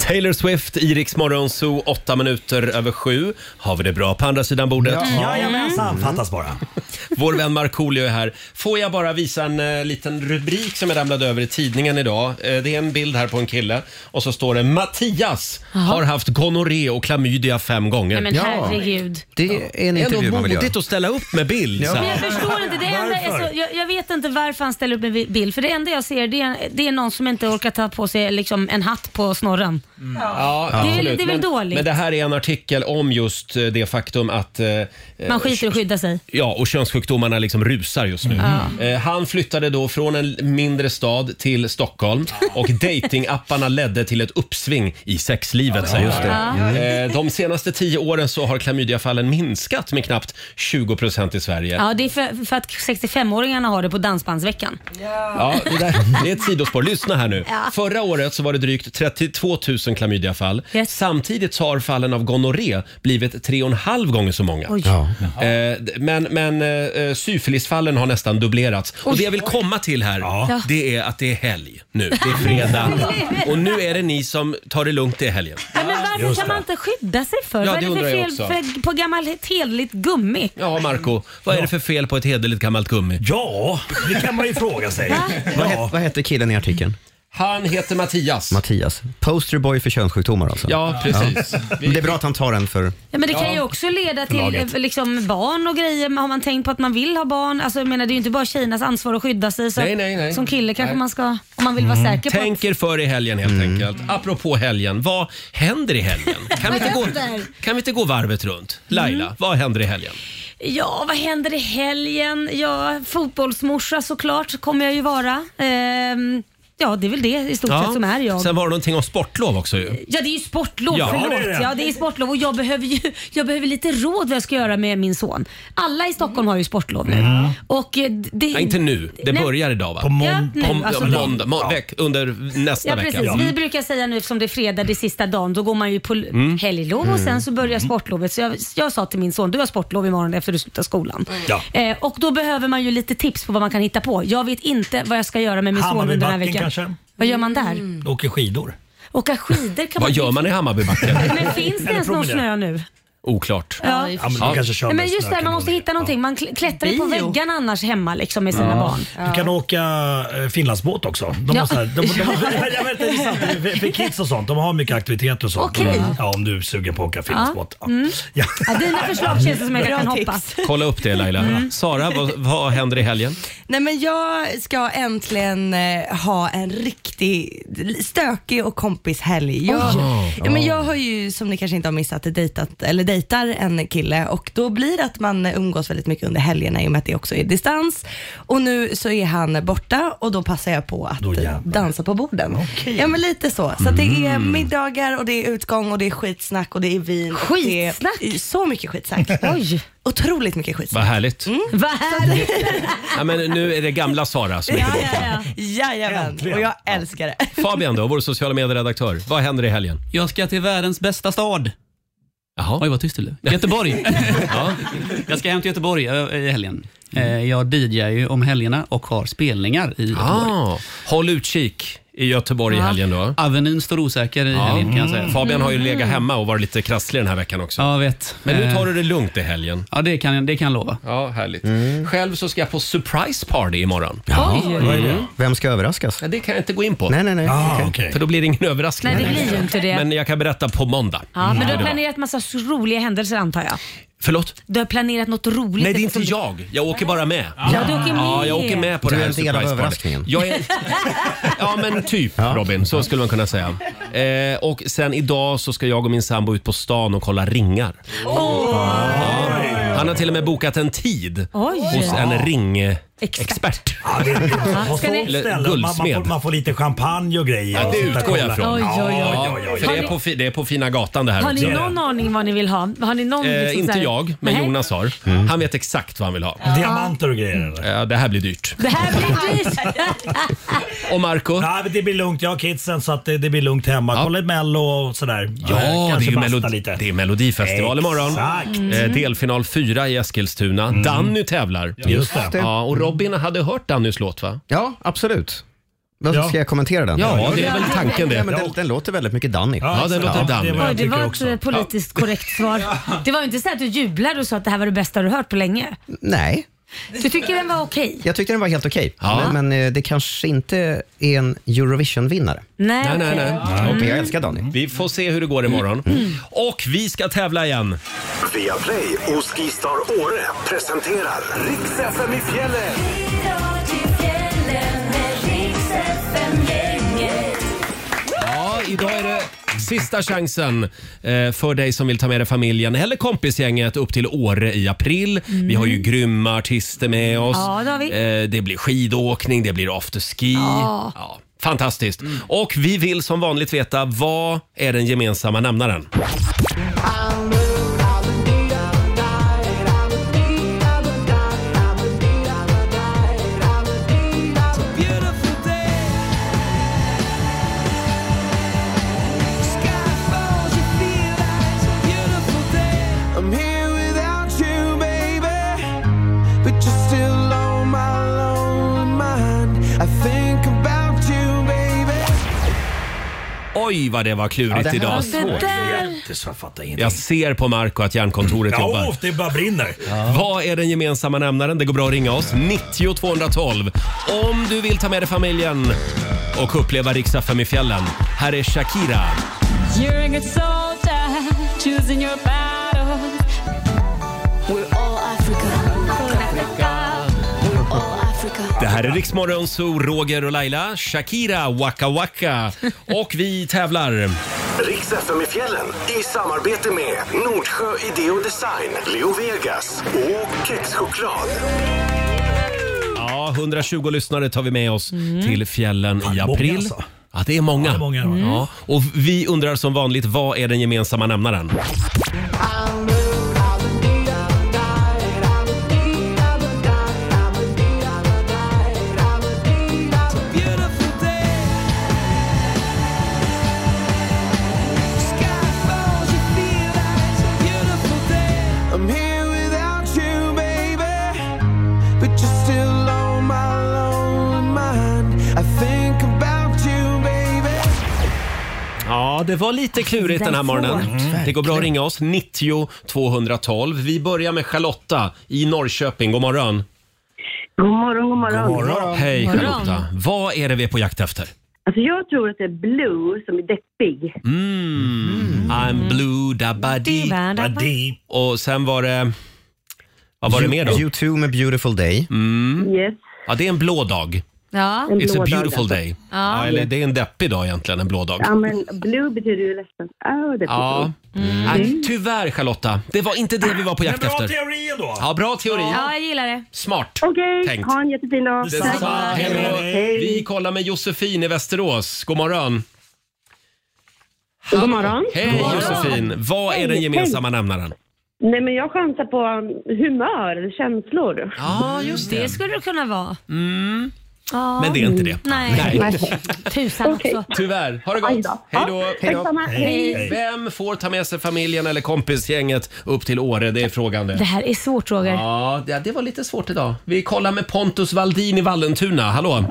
Taylor Swift, i Rix Morgon Zoo, åtta minuter över sju. Har vi det bra på andra sidan bordet? Ja. Jajamensan, Mm. fattas bara. Vår vän Markoolio är här. Får jag bara visa en eh, liten rubrik som jag ramlade över i tidningen idag. Eh, det är en bild här på en kille och så står det Mattias Jaha. har haft gonorré och klamydia fem gånger. Nej, men herregud. Det är en intervju Ändå man vill göra. modigt att ställa upp med bild. så Men här. jag förstår inte. Det enda, alltså, jag, jag vet inte varför han ställer upp en bild. För det enda jag ser det är, det är någon som inte orkar ta på sig liksom, en hatt på snorren. Ja, Det är väl- absolut. det är väl men, dåligt. Men det här är en artikel om just eh, det faktum att eh, Man skiter i att skydda sig. Ja, och könssjukdomarna liksom rusar just nu. Mm. Eh, han flyttade då från en mindre stad till Stockholm *laughs* och datingapparna ledde till ett uppsving i sexlivet. Ja, säger just det. han. Ja. Eh, de senaste tio åren så har klamydiafallen minskat med knappt 20 procent i Sverige. Ja, det är för, för att 65-åringarna har det på Dansbandsveckan. Ja, det, där, det är ett sidospår. Lyssna här nu. Ja. Förra året så var det drygt 32 000 klamydiafall. Samtidigt så har fallen av gonorré blivit 3,5 gånger så många. Oj. Ja. Eh, d- men men eh, syfilisfallen har nästan dubblerats. Och Oj. det jag vill komma till här, Ja. det är att det är helg nu. Det är fredag. Och nu är det ni som tar det lugnt i helgen. Ja, men varför Just kan det. man inte skydda sig för? Ja, Vad det är det undrar jag för också. fel för, på gammalt hederligt gummi? Ja, Marco, vad är det för fel på ett hederligt gammalt gummi? Ja, det kan man ju *laughs* fråga sig. Vad, het, vad hette killen i artikeln? Han heter Mattias. Mattias. Posterboy för könssjukdomar alltså? Ja, precis. *laughs* Men det är bra att han tar den för... Ja, men det kan Ja. ju också leda till Laget. eh, liksom, barn och grejer. Men Har man tänkt på att man vill ha barn? Alltså, jag menar, det är ju inte bara tjejernas ansvar att skydda sig. Så Nej, nej, nej. Som kille kanske Nej. Mm. man ska, om man vill vara säker på Tänk er för i helgen helt Mm. enkelt. Apropå helgen, vad händer *laughs* i helgen? Kan vi inte gå, händer? kan vi inte gå varvet runt? Laila, Mm. vad händer i helgen? Ja, vad händer i helgen? Ja, fotbollsmorsa såklart kommer jag ju vara. Ehm, ja, det är väl det i stort sett som är jag. Eh, Sen var det någonting om sportlov också ju. Ja, det är ju sportlov. Ja, förlåt. det är det. Ja, det är sportlov och jag behöver ju jag behöver lite råd vad jag ska göra med min son. Alla i Stockholm har ju sportlov nu. Mm. Och eh, det, Nej, inte nu, det Nej. börjar idag va? På mån- Ja, nu, På m- alltså- måndag, må- veck, under nästa Ja, vecka. precis. Vi Mm. brukar säga nu eftersom det är fredag, det är sista dagen, då går man ju på l- Mm. helglov och Mm. sen så börjar sportlovet. Så jag, jag sa till min son, du har sportlov imorgon efter du slutar skolan. Mm. Ja. Eh, och då behöver man ju lite tips på vad man kan hitta på. Jag vet inte vad jag ska göra med min son under den här Hammarbybacken veckan. kanske? Vad gör man där? Åker skidor. Åka skidor kan Vad man gör man i Hammarbybacken? Men finns det Eller ens någon snö promenera. nu? Oklart. Ja, Ja, i och för men de sig. kanske kör Nej, men med just snö det, man kan måste hitta någonting. Man kl- klättrar ju på Bio. väggarna annars hemma liksom, med sina barn. Du kan åka eh, Finlandsbåt också. De Ja. har *laughs* så här, de, de, *laughs* jag vet, inte, det är sant, för- för kids och sånt. De har mycket aktiviteter och sånt. Mm. Okej. Ja, om du är sugen på att åka Finlandsbåt. Ja. Mm. Ja. Ja, dina förslag känns det som jag Bra kan tips. hoppa. Kolla upp det Laila. Mm. Sara, vad, vad händer i helgen? Nej men jag ska äntligen eh, ha en riktig stökig och kompishelg. Jag, Oj. ja, men jag har ju som ni kanske inte har missat dejtat, eller dejtar en kille och då blir det att man umgås väldigt mycket under helgerna i och med att det också är distans. Och nu så är han borta och då passar jag på att dansa på borden. Ja men lite så. Så att det är Mm. middagar och det är utgång och det är skitsnack och det är vin. Skitsnack? Och det är så mycket skitsnack. Oj. Otroligt mycket skitsnack. Vad härligt. Vad härligt. Ja, men nu är det gamla Sara som är Ja, tillbaka. ja, ja. Jajamän, och jag älskar det. Fabian då, vår sociala medieredaktör. Vad händer i helgen? Jag ska till världens bästa stad. Jaha. Oj, vad tyst det blev. *laughs* Göteborg. ja. Jag ska hem till Göteborg eh, i helgen. Eh, Jag DJar ju om helgerna och har spelningar i Göteborg. Mm. Ah, håll utkik i Göteborg i Ja. helgen då. Mm. Avenyn står osäker i helgen kan jag säga. Fabian har ju legat hemma och varit lite krasslig den här veckan också. Ja, jag vet. Men nu tar Eh, du det lugnt i helgen. Ja, det kan, jag- det kan jag lova. Ja, härligt. Själv så ska jag på surprise party imorgon. Oj. Vem ska överraskas? Ja, det kan jag inte gå in på. Nej, nej, nej. Okej. För då blir det ingen överraskning. Nej, det blir ju inte det. Men jag kan berätta på måndag. Ja, men du har Hur det var. planerat massa så roliga händelser antar jag? Förlåt? Du har planerat något roligt? Nej, det är inte som du- jag. Jag åker bara med. Ja, du åker med. Ja, jag åker med på Du det här är en del av surprise party. överraskningen. Jag är... Ja, men typ Robin. Så skulle man kunna säga. Eh, och sen idag så ska jag och min sambo ut på stan och kolla ringar. Ja. Han har till och med bokat en tid Oj. hos en Expert. ringexpert. Ja, det, det, på Ska ni- sånt ställe, man, man, Guldsmed. får, man får lite champagne och grejer. Ja, det och sitta och utgår jag kolla. ifrån. Oj, oj, oj. Ja, ja, ja, ja. För det är, på, fi- det är på fina gatan det här Har också. ni någon aning vad ni vill ha? Har ni någon, Eh, liksom inte så här- jag, men Nej. Jonas har. Mm. Han vet exakt vad han vill ha. Diamanter och grejer. eller? Eh, det här blir dyrt. Det här blir dyrt. Och Marco? Nej, men det blir lugnt. Jag har kidsen så att det, det blir lugnt hemma. Kolla ett Mello och sådär. Eh, Ja, det är, Kanske ju basta Melodi- lite. det är Melodifestival imorgon. Exakt. Mm. Mm. Eh, delfinal 4 i Eskilstuna. Danny tävlar. Just det. Ja, och Robin hade hört Dannys låt va? Ja, absolut. Vad Ja. Ska jag kommentera den? Ja, det är väl tanken Ja, det. men den, den låter väldigt mycket Danny. Ja, den exakt. låter damm. det är vad Oj, jag det tycker var ett också. eh, politiskt korrekt *laughs* svar. Det var ju inte så att du jublade och sa att det här var det bästa du hört på länge. Nej, Du tycker den var okej? jag tyckte den var helt okej. Ja. Men, men eh, det kanske inte är en Eurovision-vinnare. Mm. Nej, Nej, nej, okej. Mm. nej. Men jag älskar Danny. Vi får se hur det går imorgon. Och vi ska tävla igen. Via Play och Skistar Åre presenterar Riks FM i fjällen. Ja, idag är det sista chansen eh, för dig som vill ta med dig familjen eller kompisgänget upp till Åre i april. Vi har ju grymma artister med oss. Ja, det har vi. Eh, det blir skidåkning, det blir afterski. Ja. fantastiskt. Och vi vill som vanligt veta vad är den gemensamma nämnaren? I'm here without you, baby. But you're still on my lonely mind. I think about you, baby. Oj, vad det var klurigt Ja, det här idag. var Det där. Jätte, så jag fattar ingenting. Jag ser på Marco att hjärnkontoret Ja, jobbar. oh, det bara brinner. Vad är den gemensamma nämnaren? Det går bra att ringa oss. 90 212. Om du vill ta med dig familjen och uppleva riksdag i fjällen. Här är Shakira. You're a good soldier, choosing your battle. We're all Africa. We're all Africa. Det här är Riksmorgon, så Roger och Laila. Shakira, Waka Waka. Och vi tävlar. Riks FM i fjällen i samarbete med Nordsjö Idé och Design, Leo Vegas och Kexchoklad. Ja, 120 lyssnare tar vi med oss till fjällen i många april. alltså. Ja, det är många. är många, Mm. ja. ja. Och vi undrar som vanligt, vad är den gemensamma nämnaren? I'm here without you, baby. But you're still on my lonely mind. I think about you, baby. Ja, det var lite klurigt Alltså, den här det är morgonen. Mm. svårt. Det går bra att ringa oss, 90 212. Vi börjar med Charlotta i Norrköping. God morgon. God morgon, god morgon. Hej God morgon. Charlotta. Vad är det vi är på jakt efter? Alltså jag tror att det är Blue som är deppig. Mm. I'm blue da ba di. Badi. Och sen var det... Vad var det mer då? Mm. U2 med Beautiful Day. Yes. Ja, det är en blå dag. Ja. En It's blå a dag, beautiful alltså. day. Ja, eller det är en deppig dag egentligen, en blå dag. Ja, men blue betyder ju ledsen. Oh, det Ja. Mm. Nej, tyvärr Charlotta, det var inte det vi var på Men jakt bra efter. teori ändå. Ja, bra teori. ja, jag gillar det. Smart. Okej, Tänkt. ha en jättefin dag. Detsamma. Hej då. Vi kollar med Josefin i Västerås. God morgon. God morgon. Hej Josefin! Vad är den gemensamma nämnaren? Nej, men jag chansar på um, humör, eller känslor. Ja, just Mm. Det skulle det kunna vara. Ja. Men det är inte det. Nej. Tusan också. Tyvärr. Ha det gott. Aj då. Hej då. Ja, Hej då. detsamma. Hej. Hej. Vem får ta med sig familjen eller kompisgänget upp till Åre? Det är frågan det. Det här är svårt Roger. Ja, det, det var lite svårt idag. Vi kollar med Pontus Valdin i Vallentuna. Hallå!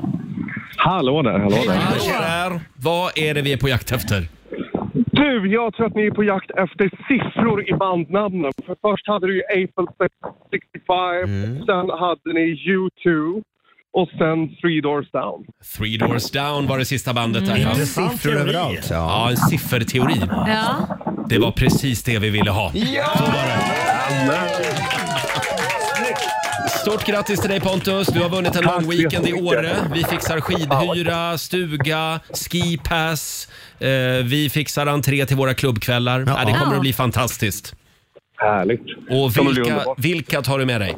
Hallå där, hallå där. Hej, Kärar. Vad är det vi är på jakt efter? Du, jag tror att ni är på jakt efter siffror i bandnamnen. För först hade du ju Eiffel 65, sen hade ni U2 och sen Three Doors Down. Three Doors Down var det sista bandet där. Mm. ja. Intressant Siffror teori. överallt, Ja. en sifferteori. Ja. Det var precis det vi ville ha. Så var det. Stort grattis till dig Pontus. Du har vunnit en Tack lång så weekend i jättemycket. Åre. Vi fixar skidhyra, stuga, skipass. Eh, vi fixar entré till våra klubbkvällar. Ja. det kommer Ja. att bli fantastiskt. Härligt. Och Kommer bli vilka, underbart. vilka tar du med dig?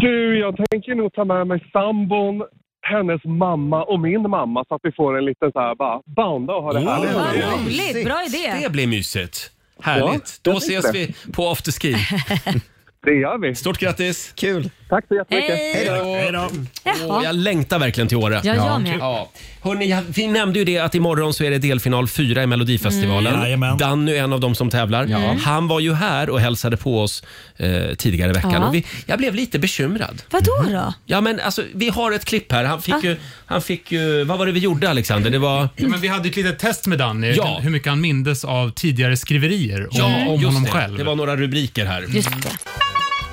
Du, jag tänker nog ta med mig sambon, hennes mamma och min mamma så att vi får en liten så här bara banda och ha det härligt. Vad roligt, bra idé. Det blir mysigt. Härligt. Ja, Då jag tycker ses det. vi på afterski. *laughs* Det gör vi. Stort grattis. Kul. Tack så jättemycket. Hej då. Hej då. Jaha. Åh, jag längtar verkligen till Åre. Ja, jag med. Ja. Hörrni, jag- vi nämnde ju det att imorgon så är det delfinal 4 i Melodifestivalen. Mm. Jajamän. Danny är en av dem som tävlar. Mm. Han var ju här och hälsade på oss eh, tidigare i veckan. Ja. Och vi, jag blev lite bekymrad. Vadå då? Ja, men alltså, vi har ett klipp här. Han Ah. fick, ju, han fick ju... Vad var det vi gjorde, Alexander? Det var... Ja, men vi hade ett litet test med Danny, Ja. hur mycket han mindes av tidigare skriverier om, om just honom det. själv. Det var några rubriker här.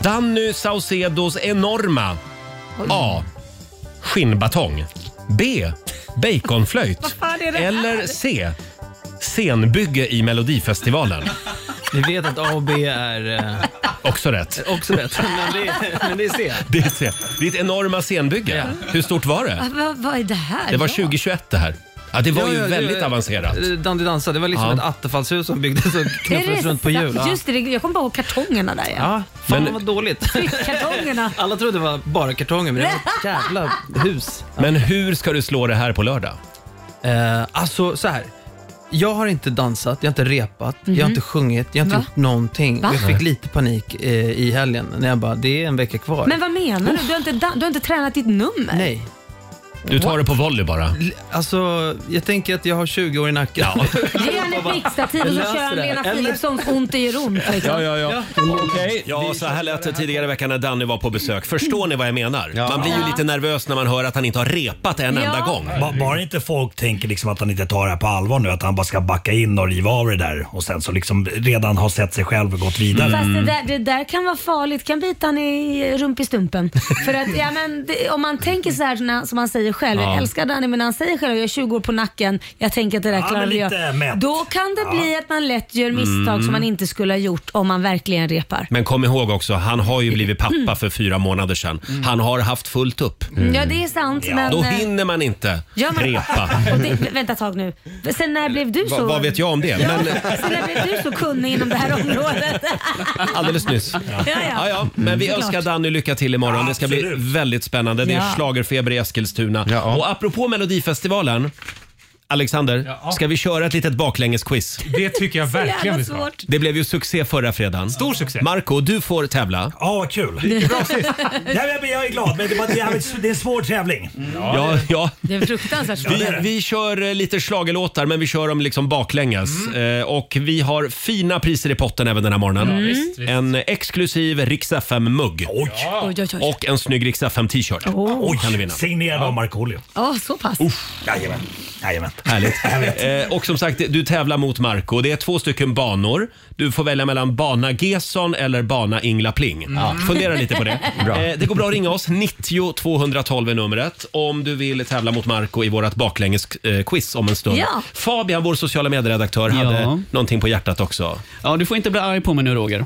Danny Saucedos enorma A. Skinnbatong. B. Baconflöjt. Eller C. Scenbygge i Melodifestivalen. Ni vet att A och B är... eh, Också rätt. Också rätt, men det, men det är *laughs* C. Det är C. Ditt enorma scenbygge. Hur stort var det? Va- va- Vad är det här? Det var Ja. 2021 det här. Ja, det var Ja, ju ja, väldigt eh, avancerat. eh, Dandy dansa, det var liksom Ja. ett attefallshus som byggdes och Det är knuffades det runt på hjul. sant? Just det, det- jag kommer bara ihåg kartongerna där ja. Ja, fan vad dåligt. Kartongerna. *laughs* Alla trodde det var bara kartonger, men det var ett jävla hus. Men hur ska du slå det här på lördag? Eh, alltså så här. Jag har inte dansat, jag har inte repat, jag har Mhm. inte sjungit, jag har inte Va? gjort någonting. Va? Och Jag fick Nej. lite panik eh, i helgen när jag bara, det är en vecka kvar. Men vad menar du? Du har inte, dan- du har inte tränat ditt nummer? Nej. Du tar det på volley bara? Alltså, jag tänker att jag har 20 år i nacken. *laughs* Ge han ett blixtstativ och Jag så löser kör han det. Lena Eller- Philipssons ont i ont. Liksom. Ja, ja, ja. Okej. Ja, så här lät det tidigare i veckan när Danny var på besök. Förstår ni vad jag menar? Man blir ju Ja. lite nervös när man hör att han inte har repat en Ja. enda gång. Ba- Bara inte folk tänker liksom att han inte tar det här på allvar nu, att han bara ska backa in och riva av det där och sen så liksom redan har sett sig själv och gått vidare. Mm. Fast Mm. det där, det där kan vara farligt, kan bita han i *laughs* rumpistumpen. För att ja, men det, om man tänker så här som han- som han säger själv, Ja. jag älskar Danny men han säger själv jag har 20 år på nacken, jag tänker att det där Ja, klarar men jag. lite mätt. Då kan det bli att man lätt gör misstag Mm. som man inte skulle ha gjort om man verkligen repar. Men kom ihåg också, han har ju blivit pappa för fyra månader sedan. Han har haft fullt upp. Ja det är sant men... Mm. Då eh, hinner man inte ja, men- repa. *laughs* Och det, vä- vänta ett tag nu. Sen när blev du Va- så... vad vet jag om det? Ja, Men- Sen när blev du så kunnig inom det *laughs* här området? Alldeles nyss. Ja, ja. Men vi Såklart. önskar Danny lycka till imorgon. Det ska bli väldigt spännande. Det är Ja. schlagerfeber i Eskilstuna. Och apropå Melodifestivalen. Alexander, ska vi köra ett litet baklängesquiz? Det tycker jag verkligen vi ska. ha. Det blev ju succé förra fredagen. Stor succé. Marco, du får tävla. Ja, vad kul. Det gick bra *laughs* sist. Nej, men jag är glad, men det, var, det, är, det är en svår tävling. Ja, ja. Det är fruktansvärt Vi, vi kör eh, lite schlagerlåtar men vi kör dem liksom baklänges. Eh, och vi har fina priser i potten även den här morgonen. Ja, visst, visst. En exklusiv Rix FM-mugg. Oj, oj, oj. Och en snygg Rix FM-t-shirt. Oj. Kan du vinna. Signerad av Markoolio. Ja, så pass. Jajamän. Jajamän. Härligt. Eh, och som sagt, du tävlar mot Marco. Det är två stycken banor. Du får välja mellan bana Gesson eller bana Ingla Pling. Mm. Ja. Fundera *laughs* lite på det. Bra. Eh, det går bra att ringa oss. 90 212 är numret om du vill tävla mot Marco i vårt baklängesquiz om en stund. Ja. Fabian, vår sociala medieredaktör, Ja. hade någonting på hjärtat också. Ja, du får inte bli arg på mig nu Roger.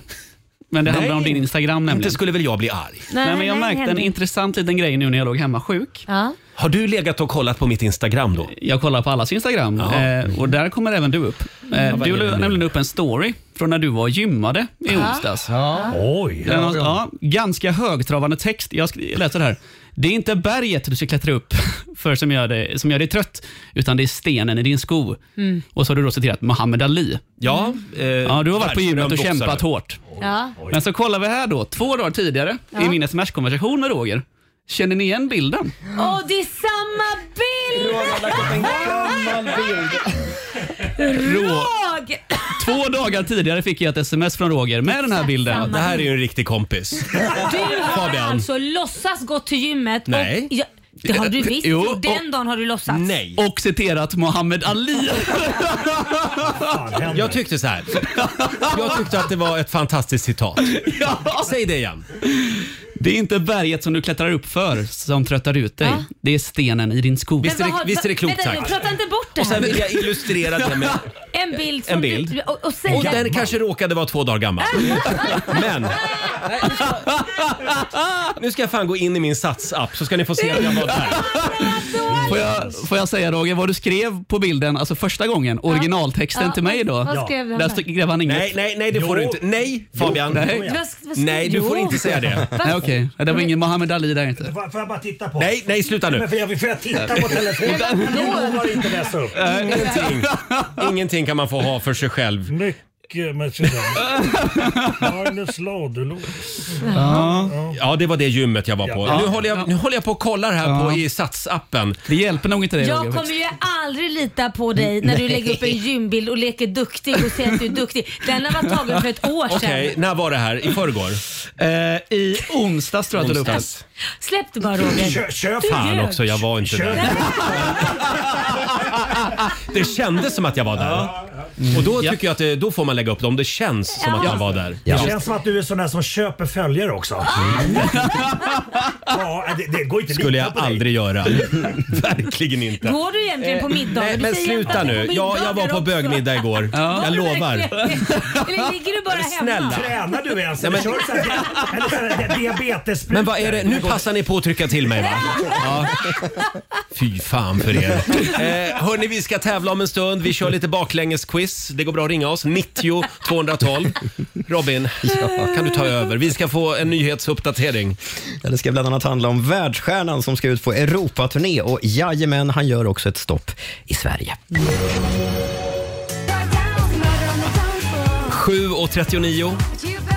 Men det Nej. handlar om din Instagram nämligen. Inte skulle väl jag bli arg? Nej, men jag nej, märkte en Henrik. intressant liten grej nu när jag låg hemma sjuk. Ja. Har du legat och kollat på mitt Instagram då? Jag kollar på allas Instagram eh, och där kommer även du upp. Eh, Ja, vad du är det la nu? nämligen upp en story från när du var och gymmade i Ja. onsdags. Oj! Den har, ja, ganska högtravande text. Jag sk- jag läser här. Det är inte berget du ska klättra upp *laughs* för som gör, dig, som gör dig trött, utan det är stenen i din sko. Mm. Och så har du då citerat Muhammad Ali. Ja, eh, ja du har varit på gymmet och världsberömd kämpat boxare. hårt. Ja. Men så kollar vi här då, två dagar tidigare Ja. i min sms-konversation med Roger. Känner ni igen bilden? Åh, det är samma bild! Rå- Jag! Två dagar tidigare fick jag ett sms från Roger med den här bilden. Det här är ju en riktig *laughs* kompis. Du har alltså låtsas gå till gymmet Nej. och... Ja, det har du visst Jo, gjort. Den och- dagen har du låtsats. Och citerat *laughs* Muhammad Ali. Jag tyckte så här. Jag tyckte att det var ett *laughs* fantastiskt citat. Säg det igen. Det är inte berget som du klättrar upp för som tröttar ut dig. Det är stenen i din Mm. sko. Men vad har- vänta, nu, Prata inte bort det Och sen här. vill jag illustrera det med *laughs* En bild. Som en bild. Du, och, och, säga- Och den kanske råkade vara två *laughs* dagar gammal. Men nu ska jag fan gå in i min Sats-app så ska ni få se att jag *laughs* var där. Får jag, får jag säga Roger vad du skrev på bilden, alltså första gången, originaltexten Ja, till mig då? vad- vad skrev du Där där? st- skrev han inget. Nej, nej, nej, det får du inte. Nej, Fabian. Nej, Vad- vad skrev Nej, du får Jo. inte säga det. Va? nej okej. Det var ingen Muhammad Ali där inte. Får får jag bara titta på? Nej, nej, sluta nu. Men får jag, får jag titta på telefonen? Men vadå? Jag lovar inte läsa upp. Ingenting. Ingenting kan man få ha för sig själv. Mycket med sig Magnus Ladulås. Ja, det var det gymmet jag var på. Ja. Nu, håller jag, nu håller jag på och kollar här på i Sats-appen. Det hjälper nog inte Jag kommer ju aldrig lita på dig när du Nej. lägger upp en gymbild och leker duktig och säger att du är duktig. Den har varit tagen för ett år sedan. Okej, när var det här? I förrgår? Eh, I onsdags tror jag att du la upp Onsdags. Släpp det bara Roger. Kö- köp Du Fan ljög. också, jag var inte där. Det kändes som att jag var där. Och då tycker jag att det, då får man lägga upp det om det känns som att man var där. Mm. Det känns som att du är sån där som köper följare också. ja, det, det går inte att skulle lita jag på dig. aldrig *laughs* göra. Verkligen inte. Går du egentligen på middagar? Du Nej, Eh, men säger att sluta du nu. går på Jag, jag middagar var på också. bögmiddag igår. Var Jag du lovar. verkligen? Eller ligger du bara hemma? snälla. Tränar du ens? Nej, men- Kör så här, eller eh, så här, *laughs* diabetessprutor? Men vad är det? Nu passar ni på att trycka till mig va? Ja. Fy fan för er. *laughs* Eh, hörni, vi ska tävla om en stund. Vi kör lite baklängesquiz. Det går bra att ringa oss. 90 212. Robin, kan du ta över? Vi ska få en nyhetsuppdatering. Ja, det ska bland annat handla om världsstjärnan som ska ut på Europaturné och jajamän, han gör också ett stopp i Sverige. 7.39.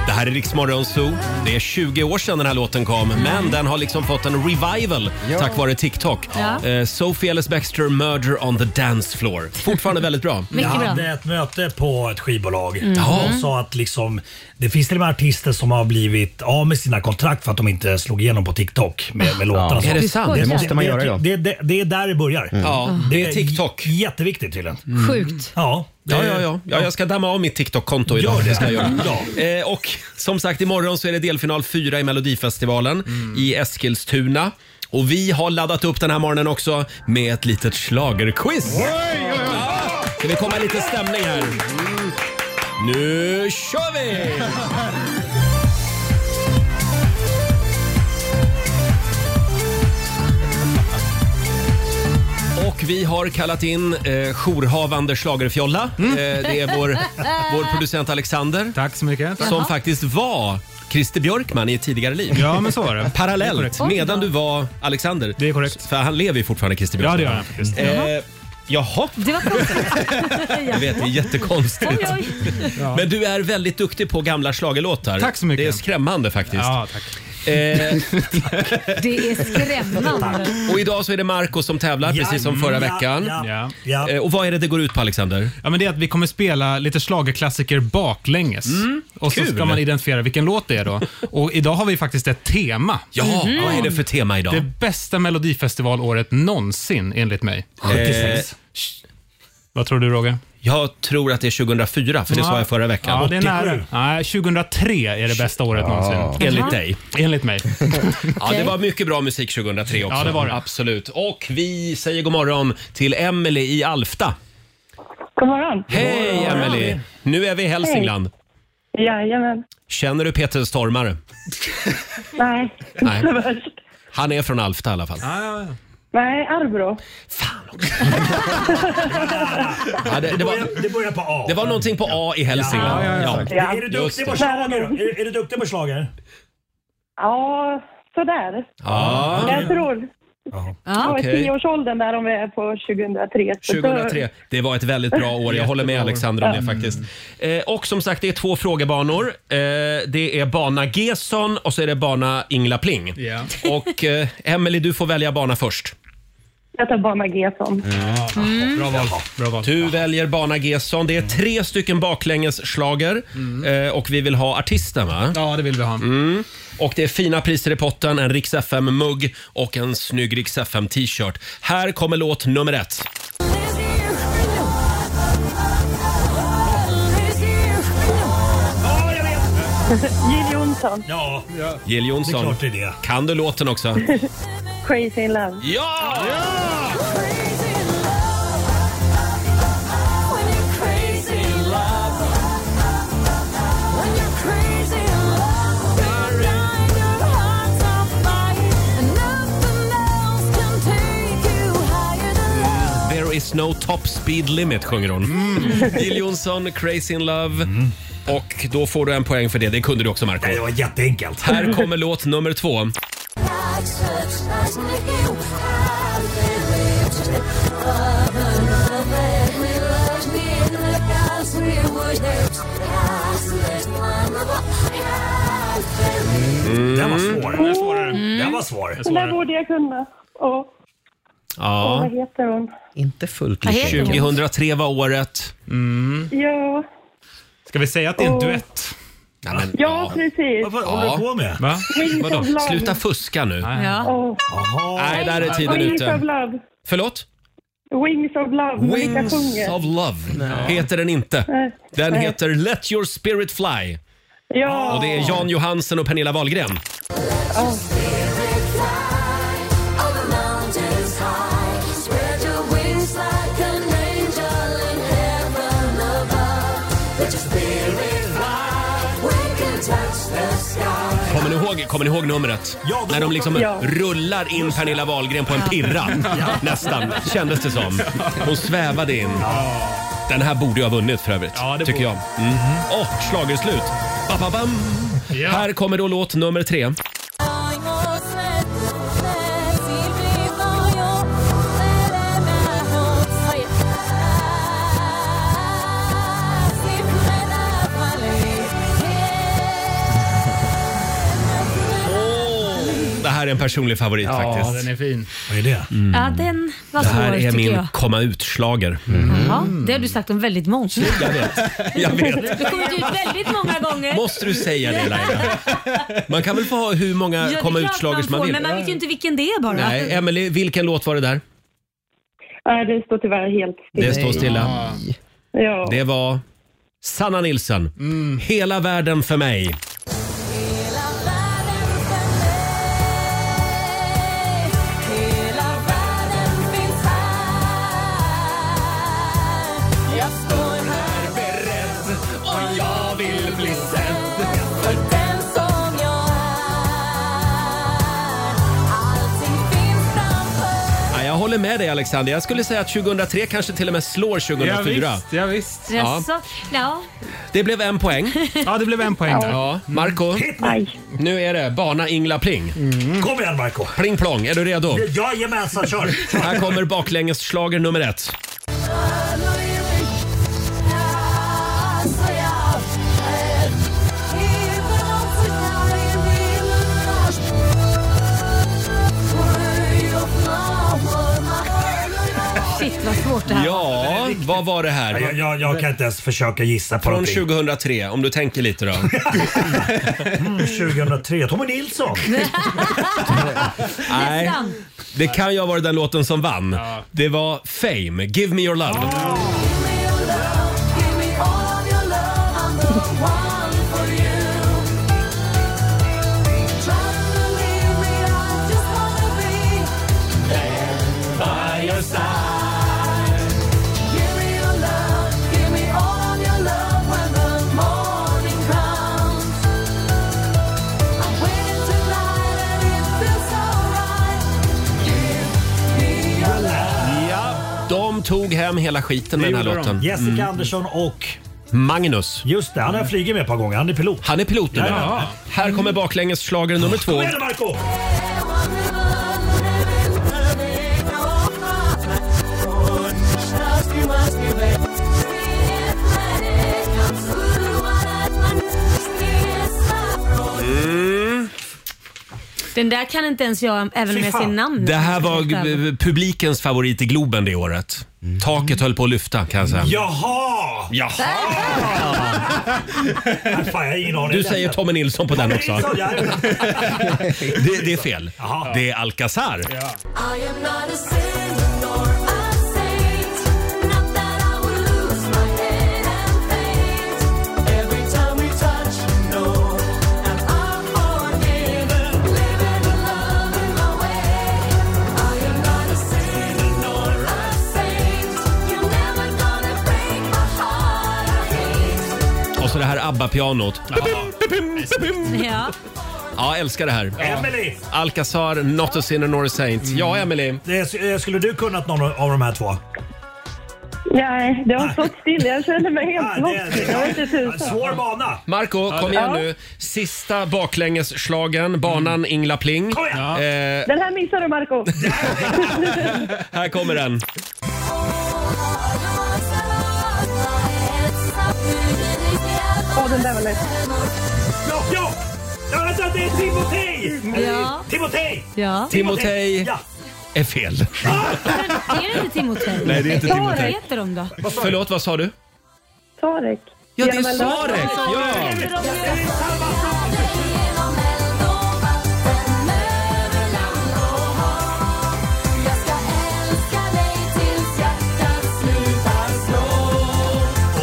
Det här är Riksmorgon Zoo. Det är 20 år sedan den här låten kom, men den har liksom fått en revival tack vare TikTok. Ja. Eh, Sophie Ellis Bextor, Murder on the dance floor. Fortfarande väldigt bra. Jag hade ett möte på ett skivbolag Mm. och sa att liksom, det finns till och med artister som har blivit av med sina kontrakt för att de inte slog igenom på TikTok med, med låtarna. Ah. Är det sant? Det måste man göra, ja. Det, det, det är där det börjar. Mm. Ja, det är TikTok. Mm. Jätteviktigt tydligen. Sjukt. Ja, Ja, ja, ja. ja, jag ska damma av mitt TikTok-konto idag. Gör det. ska jag *laughs* göra. Ja. Eh, och som sagt, imorgon så är det delfinal 4 i Melodifestivalen i Eskilstuna. Och vi har laddat upp den här morgonen också med ett litet schlagerquiz. Ska vi komma i lite stämning här? Nu kör vi! Och vi har kallat in eh, jourhavande schlagerfjolla. Eh, det är vår, vår producent Alexander. Tack så mycket. Som faktiskt var Christer Björkman i ett tidigare liv. Ja, men så var det. Det är Parallellt, korrekt. Oj då. medan du var Alexander. Det är korrekt. För han lever ju fortfarande, Christer Ja, Björkman. det gör han faktiskt. Eh, jaha. Det var konstigt. Jag vet, det är jättekonstigt. Oj, oj. Men du är väldigt duktig på gamla schlagerlåtar. Tack så mycket. Det är skrämmande faktiskt. Ja, tack. Eh, Det är skrämmande. och idag så är det Marco som tävlar, precis som förra veckan. Mm. Ja. Eh, Och vad är det det går ut på Alexander? Ja, men det är att vi kommer spela lite schlagerklassiker baklänges. och så Mm, kul. ska man identifiera vilken låt det är *laughs* då. Och idag har vi faktiskt ett tema. Ja, Mhm. vad är det för tema idag? Det bästa melodifestivalåret någonsin enligt mig. Eh, Vad tror du Roger? Jag tror att det är 2004, för det sa jag förra veckan. Ja, det är nära. Nej, 2003 är det bästa året någonsin. Enligt dig. Enligt *laughs* mig. Ja, det var mycket bra musik 2003 också. Ja, det var det. Absolut. Och vi säger god morgon till Emelie i Alfta. God morgon. Hej Emelie! Nu är vi i Hälsingland. Jajamän. Känner du Peter Stormare? Nej, Nej. inte värst. Han är från Alfta i alla fall. Ah. Nej, Arbro. Ja, det, det, var, det börjar på A. det var någonting på A i Hälsingland. Ja, ja, ja. Är du just duktig på det. schlager? då? Är, är du duktig på schlager? Ja, sådär. Ja. Jag tror, Ja. Ja, i Okej. tioårsåldern där om vi är på 2003. så då- 2003. Det var ett väldigt bra år. Jag håller med Jättebra år. Alexander om det Mm. faktiskt. Eh, och som sagt, det är två frågebanor. Eh, det är bana Gesson och så är det bana Ingla Pling. Ja. Och eh, Emelie, du får välja bana först. Jag tar bana Gesson. Mm. Bra val. Du väljer bana Gesson. Det är tre stycken baklängesschlager eh, och vi vill ha artisten va? Ja, det vill vi ha. Mm. Och det är fina priser i potten, en Rix FM-mugg och en snygg Rix FM-t-shirt. Här kommer låt nummer ett. *laughs* Jill Johnson. Ja. Jill Johnson. Det är klart det är det. Kan du låten också? *laughs* Crazy in love. Ja! There is no top speed limit sjunger hon. Jill Johnson, Crazy in Love. Och då får du en poäng för det. Det kunde du också Marco. Det var jätteenkelt. Här kommer låt nummer två. Den var svår. Mm. Den var svårare. Den var svår. Den där borde jag kunna. Åh, åh, Ja. vad heter hon? Inte fullt Vad heter hon? 2003 var året. Mm. Ja, Ska vi säga att det är en Åh. duett? Ja, men, ja precis. Vad håller du på med? Va? Wings Vadå? of love. Sluta fuska nu. Ja. Åh. Nej, där är tiden Wings ute. Of love. Förlåt? Wings of love. men vilka Wings sjunger? of Love heter den inte. Nej. Den Nej. heter Let Your Spirit Fly. Ja. Och det är Jan Johansen och Pernilla Wahlgren. Kommer ni ihåg, kommer ni ihåg numret? Ja, då- När de liksom Ja. rullar in Pernilla Wahlgren på en Ja. pirra. Ja. Nästan, kändes det som. Hon svävade in. Den här borde jag ha vunnit för övrigt, tycker jag. Mm. Och schlagerslut. Ba-ba-bam. Här kommer då låt nummer tre. Det här är en personlig favorit faktiskt. Mm. den är fin. Vad är det? Ja, den var Det här svår är tycker min jag. Mm. komma ut-schlager. Ja, det har du sagt om väldigt många. Jag vet. Jag vet. Du kommer ut väldigt många gånger. Måste du säga det Laila? Man kan väl få ha hur många det är komma klart ut-schlagers man får, vill? Men man vet ju inte vilken det är bara. Nej, Emily, vilken låt var det där? Nej, det står tyvärr helt Det stilla. står stilla. Ja. Det var Sanna Nilsson. Hela världen för mig. Ja, jag håller med dig Alexander. Jag skulle säga att 2003 kanske till och med slår 2004. Ja, visst, ja, visst. Ja. Jaså? Ja. Det blev en poäng. Ja, det blev en poäng där. Ja, Marco. Nu är det bana Ingla Pling. Kom igen Marco Pling plong, är du redo? Jajamensan, kör! Här kommer baklängesschlager nummer ett. Shit vad svårt det här var. Ja, vad var det här? Jag, jag, jag kan inte ens försöka gissa på Från någonting. 2003, om du tänker lite då. Mm, 2003. Tommy Nilsson. Nej, det kan ju ha varit den låten som vann. Det var Fame, Give Me Your Love. Ja, de tog hem hela skiten med den här låten. Jessica Mm. Andersson och... Magnus. Just det, han har jag flugit med ett par gånger. Han är pilot. Han är pilot nu. Ja. Här kommer baklängesschlager nummer två. Kom igen Marco Den där kan inte ens jag, även om jag ser namnet. Det här var g- publikens favorit i Globen det året. Mm. Taket höll på att lyfta kan jag säga. Jaha! Jaha! *laughs* Nej, fan, jag har ingen aning. Du säger Tommy Nilsson på den också. Nilsson, ja. *laughs* Det, det är fel. Det är I am Alcazar. not a sinner nor a saint. Not that I will lose my head and faint. Every time we touch, no, am I forgiven? Living and loving my way. I am not a sinner nor a saint. You're never gonna break my heart. I hate. Och så det här ABBA-pianot. Ja. Ja, älskar det här. Emily. Alcazar, Not a sinner nor a saint. Ja, Emily. Det- eh, Skulle du kunnat någon av de här två? Nej, det har stått still. Jag känner mig helt lost. Jag vet inte tusan. Svår bana. Marco, Ja, kom det- igen Ja. nu. Sista baklängesschlagern, banan Mm. Ingla Pling. Ja. Eh, Den här missar du, Marco. här kommer den. Åh, den där var lätt. Ja, ja! Ja, vänta, det är Timotej! Ja. Timotej! Ja. Timotej Ja. är fel. Är det inte Timotej? Nej, det är inte Vad Timotej. heter de då? Förlåt, vad sa du? Sarek. Ja, det är Genom elden. Sarek, ja.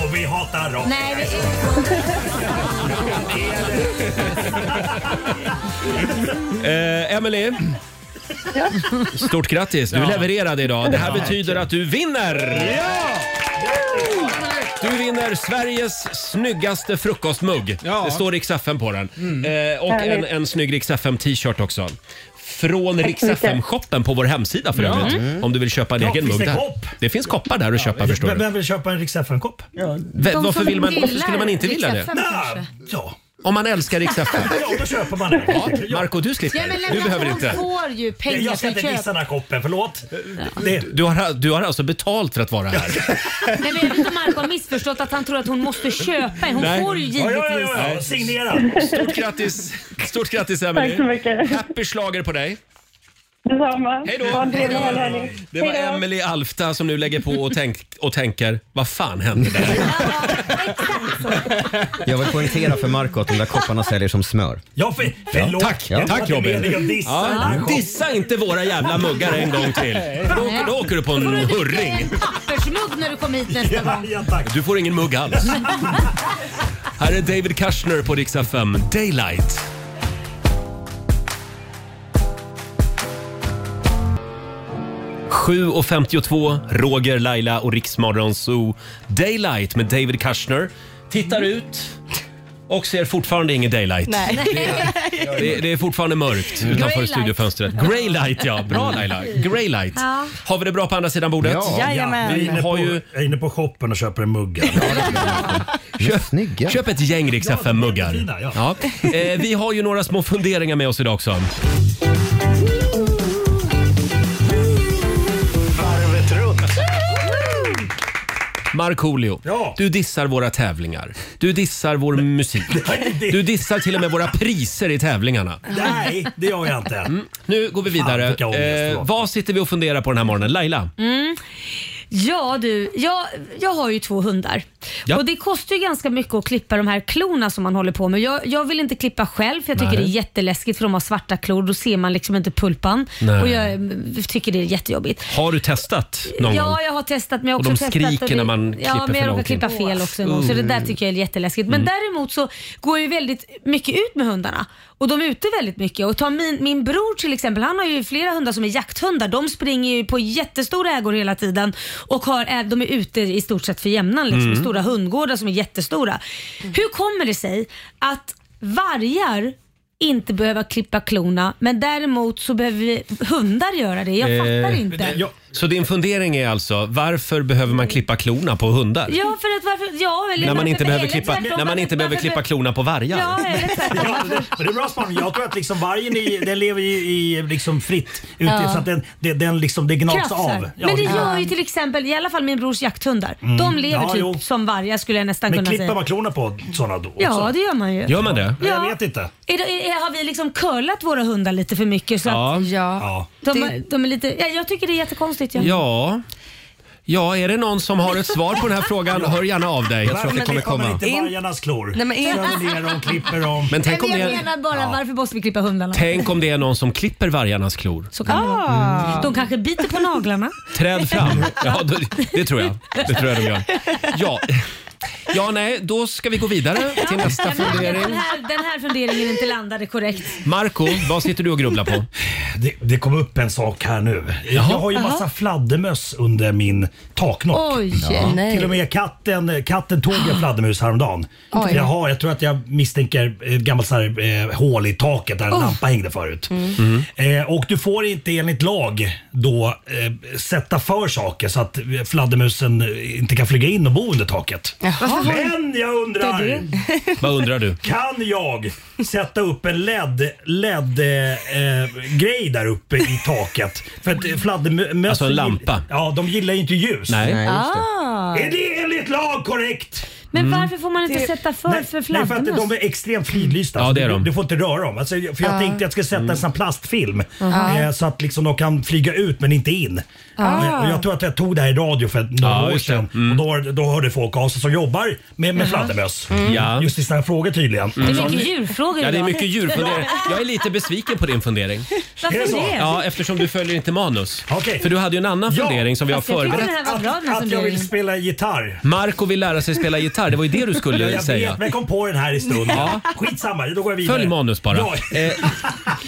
Och vi er hatar rock. Nej, vi... er Eh, Emily. Stort grattis, du levererade idag. Det här Ja. betyder att du vinner! Du vinner Sveriges snyggaste frukostmugg. Det står Rix FM på den. Mm. Eh, och en, Härligt. en snygg Rix FM t-shirt också. Från Tack Rix så mycket. FM shoppen på vår hemsida för Ja. övrigt. Mm. Om du vill köpa en Ja, egen finns mugg det där. kopp? Det finns koppar där att köpa förstår Vem du. vem vill köpa en Rix FM-kopp? Vem- De varför som vill man- varför gillar skulle man inte vilja Rix det? FM Nej, ja. Om man älskar Rix FM. Ja, då köper man den. Ja, Marco, du Ja, men slipper. lämna Du behöver för inte. De får ju pengar Jag för ska inte köp. missa den här koppen, förlåt. Det, Du har, du har alltså betalt för att vara här? Nej, men jag vet inte om Marco har missförstått att han tror att hon måste köpa en. Hon Nej. får ju Ja, ja, ja, givetvis. ja. Nej. Signera. Stort grattis, stort grattis Emily. Tack så mycket. Happy schlager på dig. Detsamma. Hej då. Ha en trevlig helg, hörni. Det var Hej då. Emily Alfta som nu lägger på och, tänk, och tänker, vad fan hände där? Jag vill poängtera för Marco att de där kopparna säljer som smör. Ja, för, förlåt. Tack, Jag tack, var inte Robin. meningen att dissa Ja, den här koppen. Dissa inte våra jävla muggar en gång *laughs* till. Då, åker- då åker du på en hurring. Pappersmugg när du kommer hit nästa gång. Du får ingen mugg alls. Här är David Kushner på Rix FM, Daylight. Sju och 52, Roger, Laila och Riksmorgon Zoo. Daylight med David Kushner. Tittar Mm. ut och ser fortfarande ingen daylight. *laughs* Det, det är fortfarande mörkt utanför Grey studiofönstret. Grey light, ja. Bra *laughs* Laila. Grey light. Ja. Har vi det bra på andra sidan bordet? Jajamän. Vi har ju... Jag är inne på shoppen och köper en mugg. Köp, köp ett gäng Rix Ja, de är FM-muggar. fina, Ja. ja. Eh, vi har ju några små funderingar med oss idag också. Varvet runt. Markoolio, du dissar våra tävlingar. Du dissar vår musik. Du dissar till och med våra priser i tävlingarna. Nej, det gör jag inte. Mm. Nu går vi vidare. Eh, vad sitter vi och funderar på den här morgonen? Laila? *laughs* Mm. Ja du, jag, jag har ju två hundar. Ja. Och Det kostar ju ganska mycket att klippa de här klorna som man håller på med. Jag, jag vill inte klippa själv för jag tycker Nej. det är jätteläskigt för de har svarta klor. Då ser man liksom inte pulpan. Nej. Och jag mm, tycker det är jättejobbigt. Har du testat någon ja, gång? jag har testat men jag har också Och de testat skriker det- när man klipper Ja, men för jag långt in. klippa fel också en gång så det där Mm. tycker jag är jätteläskigt. Men Mm. däremot så går ju väldigt mycket ut med hundarna och de är ute väldigt mycket. Och ta min, min bror till exempel, han har ju flera hundar som är jakthundar. De springer ju på jättestora ägor hela tiden och har, är- de är ute i stort sett för jämnan liksom, i Mm. stora hundgårdar som är jättestora. Hur kommer det sig att vargar inte behöva klippa klorna men däremot så behöver vi hundar göra det. Jag Eh, fattar inte. jag- Så din fundering är alltså, varför behöver man klippa klorna på hundar? Ja, för att varför... Ja, eller när man varför- inte behöver eller klippa, tvärtom, när man varför- inte behöver varför- klippa klorna på vargar. Ja, eller tvärtom. Ja, men det är bra spaning. Jag tror att liksom vargen i, den lever ju i, liksom fritt ute Ja. så att den, den, den liksom, *laughs* det gnags Krafsar. av. Ja, men det det- gör ju till exempel, i alla fall min brors jakthundar. Mm. De lever Ja, typ jo. som vargar skulle jag nästan Men kunna klipper säga. man klorna på sådana då? Ja, det gör man ju. Gör man det? Ja. Jag vet inte. Är, det- är, har vi liksom curlat våra hundar lite för mycket? Så Ja. Att, Ja. De, de är lite, ja, jag tycker det är jättekonstigt. Ja. Ja. Ja, är det någon som har ett svar på den här *laughs* frågan? Hör gärna av dig. Jag tror att det kommer komma. Inte vargarnas klor. Nej, men är- Kör ner dem, klipper dem. Men tänk om jag det- menar bara varför måste vi klippa hundarna? Tänk om Mm. det är någon som klipper vargarnas klor. Så kan det vara. De kanske biter på naglarna. *laughs* Träd fram. Ja, då- det tror jag. Det tror jag de gör. Ja. ja, nej, då ska vi gå vidare till nästa den, här, den, fundering. här, den här funderingen inte landade korrekt. Marco, vad sitter du och grubblar på? Det, det kom upp en sak här nu. Jag har ju massa Jaha. fladdermöss under min taknock. Oj, Ja. nej. Ah. Till och med katten, katten tog en fladdermus häromdagen. Oj. Jag, har, jag tror att jag misstänker ett gammalt så här, eh, hål i taket där en Oh. lampa hängde förut. Mm. Eh, och du får inte enligt lag då eh, sätta för saker så att eh, fladdermusen eh, inte kan flyga in och bo under taket. Men jag undrar. *laughs* Vad undrar du? Kan jag sätta upp en LED, LED eh, eh, grej där uppe i taket? För att fladdermössen... Alltså en lampa. Ja, de gillar ju inte ljus. Nej. Nej, just Mm. Ah. Är det enligt lag korrekt? Men varför får man inte sätta för nej, för nej, för att fladdermöss? de är extremt fridlysta. Ja, så det är du- de. Du får inte röra dem. Alltså, jag- för jag Ah. tänkte att jag skulle sätta en sån plastfilm Aha. eh, så att liksom de kan flyga ut men inte in. Ah. Eh, Och jag tror att jag tog det här i radio för några Ja, år just det. Mm. sedan. Och då, då hörde folk av sig som jobbar med, med Jaha. fladdermöss. Mm. Ja. Just i sådana här frågor tydligen. Mm. Det är mycket djurfrågor Ja, det är idag. mycket djurfundering. Jag är lite besviken på din fundering. Varför det? Ja, eftersom du följer inte manus. Okej. För du hade ju en annan fundering som vi har Fast Alltså, jag tyckte förberett. den här var bra, den här Att jag funderingen. vill spela gitarr. Marco vill lära sig spela gitarr. Det var ju det du skulle Ja, jag säga. vet, men jag kom på den här i stunden. Ja. Skitsamma, då går jag vidare. Följ manus bara. Ja, Eh,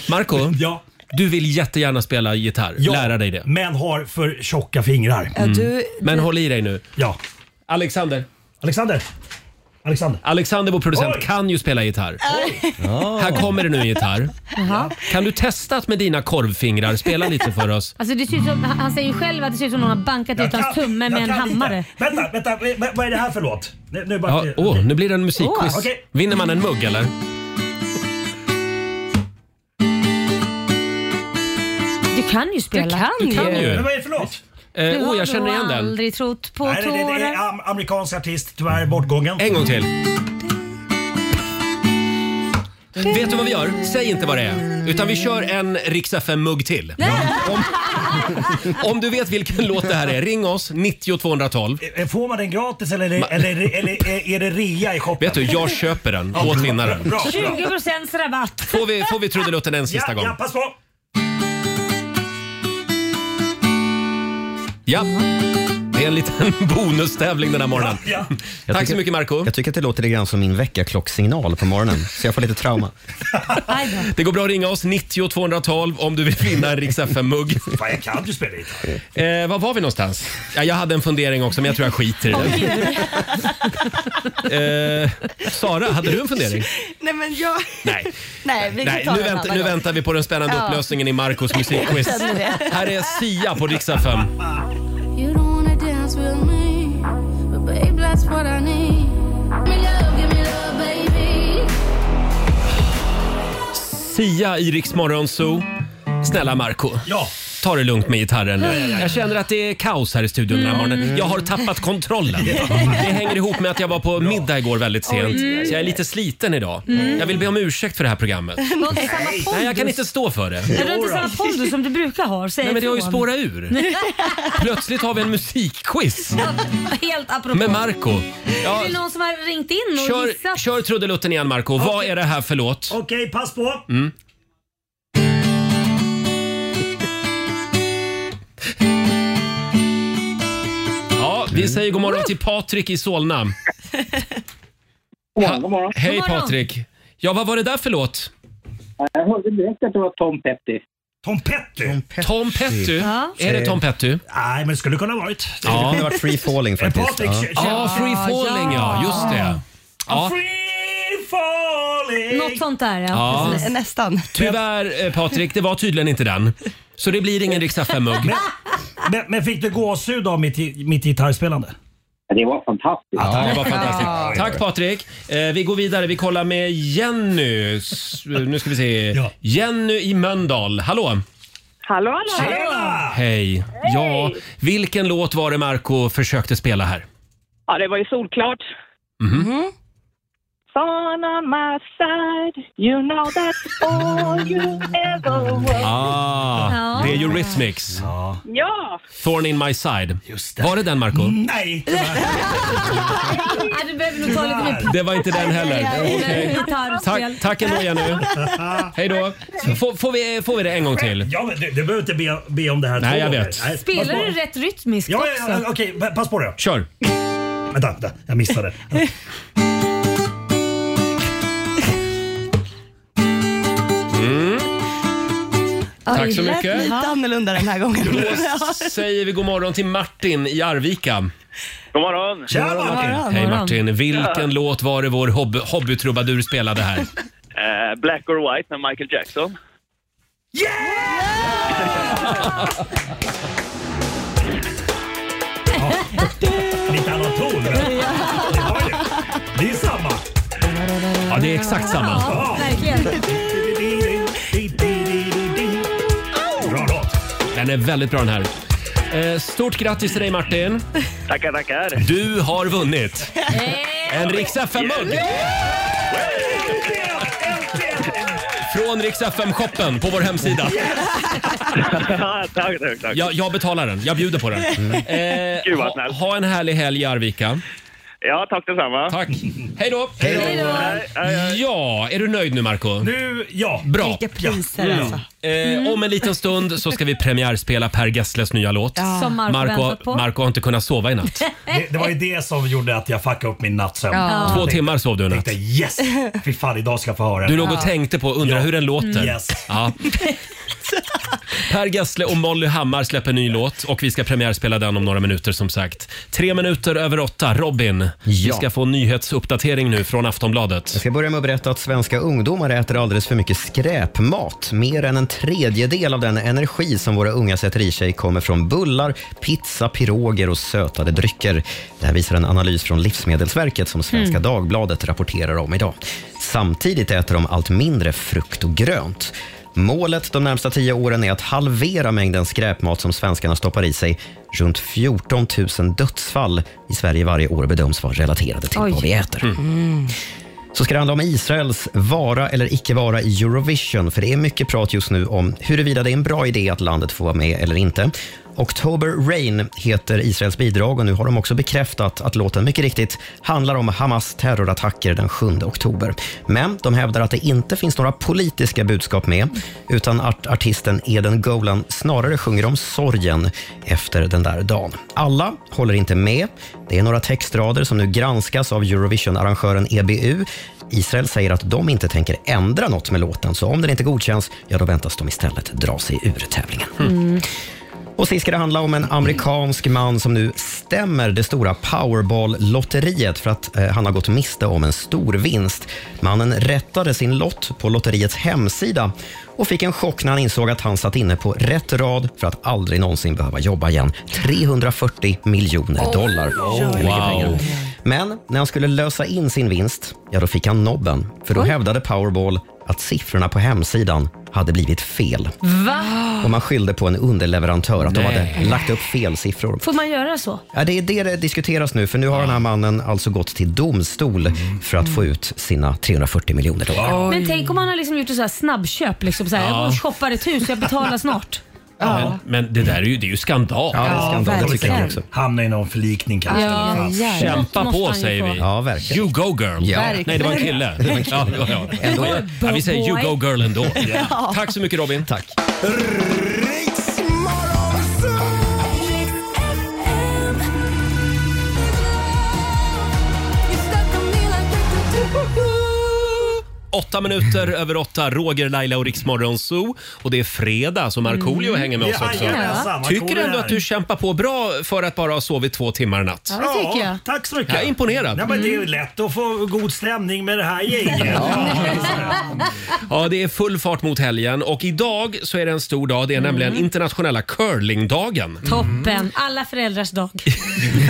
Marco, du vill jättegärna spela gitarr. Ja, Lära dig det. Men har för tjocka fingrar. Ja, du- Men Mm. håll i dig nu. Ja. Alexander. Alexander. Alexander. Alexander, vår producent, Oj. kan ju spela gitarr. Ja. Här kommer det nu en gitarr. Jaha. Kan du testa att med dina korvfingrar spela lite för oss? Alltså det ser ut som, han han säger ju själv att det ser ut som någon har bankat ut hans tumme med en hammare. Vänta, vänta, v- v- vad är det här för låt? Nu, nu bara... Ja, åh, nu blir det en musikquiz. Åh, okej. Vinner man en mugg eller? Du kan ju spela. Du kan ju. Men vad är det för låt? Eh, Du åh, har jag känner då igen den. aldrig trott på Nej, det, det, det tårar. är am- amerikansk artist, tyvärr bortgången. En gång till. Vet du vad vi gör? Säg inte vad det är. Utan vi kör en Rix FM-mugg till. Om, om du vet vilken låt det här är, ring oss 90 212. Eh, Får man den gratis eller, eller, eller, eller eh, är det rea i shoppen? Vet du, jag köper den Ja, åt bra, vinnaren. bra, bra. 20% rabatt. Får vi, får vi trudelutten en sista ja, gång? Ja, pass på. Ja. Det är en liten *laughs* bonustävling den här morgonen. Jag Tack tycker- så mycket Marco Jag tycker att det låter lite grann som min väckarklockssignal på morgonen, så jag får lite trauma. Det går bra att ringa oss, 90 212 om du vill vinna en Rix FM-mugg. Fan, jag kan ju spela gitarr. Eh, var var vi någonstans? Ja, jag hade en fundering också, men jag tror jag skiter i den. eh, Sara, hade du en fundering? *laughs* Nej men jag... Nej. Nej, vi kan Nej, ta nu, den vänta, annan nu gång. väntar vi på den spännande Ja. upplösningen i Marcos musikquiz. Jag känner det. Här är Sia på Rix FM. You don't wanna dance with me, but babe, that's what I need. Give me love, give me love, baby. Sia i Rix Morgon Zoo. Snälla Marco. Ja. Ta det lugnt med gitarren Ja, ja, ja, Mm. nu. ja. Jag känner att det är kaos här i studion den här morgonen. Jag har tappat kontrollen. Det hänger ihop med att jag var på middag igår väldigt sent. Mm. Så jag är lite sliten idag. Mm. Jag vill be om ursäkt för det här *laughs* programmet. Du har inte samma pondus. Nej, jag kan inte stå för det. Ja, Du har inte samma pondus som du brukar ha. Säg Nej, men det har ju ifrån. spårat ur. Plötsligt har vi en musikquiz *laughs* Helt apropå. med Marco. Ja, Är det någon som har ringt in och kör, gissat? kör trudelutten igen Marco. Vad är det här för låt? Okej, pass på. Mm. Ja, Mm. vi säger god morgon till Patrik i Solna. God morgon, god morgon. Hej God morgon. Patrik. Ja, vad var det där för låt? Jag hörde direkt att det var Tom Petty. Tom Petty? Tom Petty. Är det Tom Petty? Nej, men det skulle kunna ha varit. Eh, Det kunde ha varit Free Falling faktiskt. Patrik, Ja. kö- kö- Ja, Free Falling ja, just det. Ja. Free falling. Något sånt där ja. Ja. Precis. Nästan. Tyvärr eh, Patrik, det var tydligen inte den. Så det blir ingen Rix FM-mugg. Men, men fick du gåshud av mitt, gi- mitt gitarrspelande? Det var fantastiskt. Ja, det var fantastiskt. Tack Patrik. Eh, vi går vidare. Vi kollar med Jenny. S- eh, Nu ska vi se. Jenny i Mölndal. Hallå! Hallå, hallå! Hej. Ja, vilken låt var det Marco försökte spela här? Ja, det var ju solklart. Mhm. Sun on my side, you know that's all you ever want. Ah, Ja. det är Eurythmics. Ja! Thorn in my side. Var det den Marco? Mm. Nej! Ja, du behöver nog ta lite mer Det var inte den heller. Nej, Okej. gitarrspel. Tack, tack ändå Jenny. Hej då. Får, får, vi, får vi det en gång till? Ja, men du, du behöver inte be, be om det här Nej, två jag gånger. vet. Nej, Spelar pass på. du rätt rytmiskt Ja, också? ja, ja okej. pa- Pass på det. Kör. Vänta, vänta. Jag missade. Mm. Tack så mycket. lite annorlunda den här gången. *laughs* Då s- säger vi god morgon till Martin i Arvika. God morgon! God morgon, Martin. Hej Martin. Vilken låt var det vår hobby, hobbytrubadur spelade här? Eh, Black or White med Michael Jackson. *laughs* Lite annan ton. men- Det var ju. Det är samma. Ja, det är exakt samma. Ja, verkligen. Bra låt. Den är väldigt bra den här. Eh, Stort grattis till dig Martin. Tackar, tackar. Du har vunnit en Rix FM-mugg från Rix FM-shoppen på vår hemsida. *laughs* tack, tack, Mm. tack. Jag, jag betalar den. Jag bjuder på den. Eh, ha, ha en härlig helg i Arvika. Ja, tack detsamma. Tack. Hej då. Ja, är du nöjd nu Marco? Nu, ja. Bra. Vilka priser, Mm. alltså. Eh, Om en liten stund så ska vi premiärspela Per Gessles nya låt. Ja. Som Marco väntat på. Marco har inte kunnat sova i natt. Det, det var ju det som gjorde att jag fuckade upp min nattsömn. Ja. Två timmar sov du i natt. Tänkte yes! Fy fan, idag ska jag få höra Du låg och tänkte på, undrar hur den låter. Mm. Yes. Ja. Per Gessle och Molly Hammar släpper ny låt och vi ska premiärspela den om några minuter som sagt. Tre minuter över åtta. Robin, vi Ja. ska få en nyhetsuppdatering nu från Aftonbladet. Jag ska börja med att berätta att svenska ungdomar äter alldeles för mycket skräpmat. Mer än en tredjedel av den energi som våra unga sätter i sig kommer från bullar, pizza, piroger och sötade drycker. Det här visar en analys från Livsmedelsverket som Svenska Mm. Dagbladet rapporterar om idag. Samtidigt äter de allt mindre frukt och grönt. Målet de närmsta tio åren är att halvera mängden skräpmat som svenskarna stoppar i sig. Runt 14 000 dödsfall i Sverige varje år bedöms vara relaterade till vad vi äter. Mm. Så ska det handla om Israels vara eller icke vara i Eurovision, för det är mycket prat just nu om huruvida det är en bra idé att landet får vara med eller inte. October Rain heter Israels bidrag och nu har de också bekräftat att låten mycket riktigt handlar om Hamas terrorattacker den 7 oktober. Men de hävdar att det inte finns några politiska budskap med, utan att artisten Eden Golan snarare sjunger om sorgen efter den där dagen. Alla håller inte med. Det är några textrader som nu granskas av Eurovision-arrangören EBU. Israel säger att de inte tänker ändra något med låten, så om den inte godkänns, ja då väntas de istället dra sig ur tävlingen. Och sist ska det handla om en amerikansk man som nu stämmer det stora Powerball-lotteriet för att eh, han har gått miste om en stor vinst. Mannen rättade sin lott på lotteriets hemsida och fick en chock när han insåg att han satt inne på rätt rad för att aldrig någonsin behöva jobba igen. 340 miljoner dollar. Oj, oj, oj. Mycket pengar. Wow. Men när han skulle lösa in sin vinst, ja då fick han nobben. För då hävdade Powerball att siffrorna på hemsidan hade blivit fel. Va? Och man skyllde på en underleverantör att de Nej. hade lagt upp fel siffror. Får man göra så? Ja, det är det det diskuteras nu, för nu har den här mannen alltså gått till domstol Mm. för att få ut sina 340 miljoner dollar. Men tänk om man har liksom gjort ett så här snabbköp. Liksom så här, Ja. Jag går och shoppar ett hus, jag betalar snart. Men, men det där är ju, det är ju skandal. Ja, det är skandal. Det tycker jag också. Hamna i någon förlikning kanske. Ja, Eller vad fan. jävlar. Kämpa Något måste på han ju säger få. vi. Ja, verkligen. You go girl. Ja. Nej, det var en kille. Det var en kille. Ja, ja, ja. Ändå. Ja, vi säger you go girl ändå. Ja. Tack så mycket Robin. Tack. Mm. Åtta minuter över åtta, Roger, Laila och Riksmorgon Zoo. Och det är fredag, så Markoolio Mm. hänger med oss också. Jajamensan, Tycker Markoolio ändå här. att du kämpar på bra för att bara ha sovit två timmar i natt. Ja, det tycker jag. Tack så mycket. Jag är imponerad. Nej, men det är Mm. ju lätt att få god stämning med det här gänget. Ja, det är full fart mot helgen och idag så är det en stor dag. Det är nämligen internationella curlingdagen. Toppen. Alla föräldrars dag.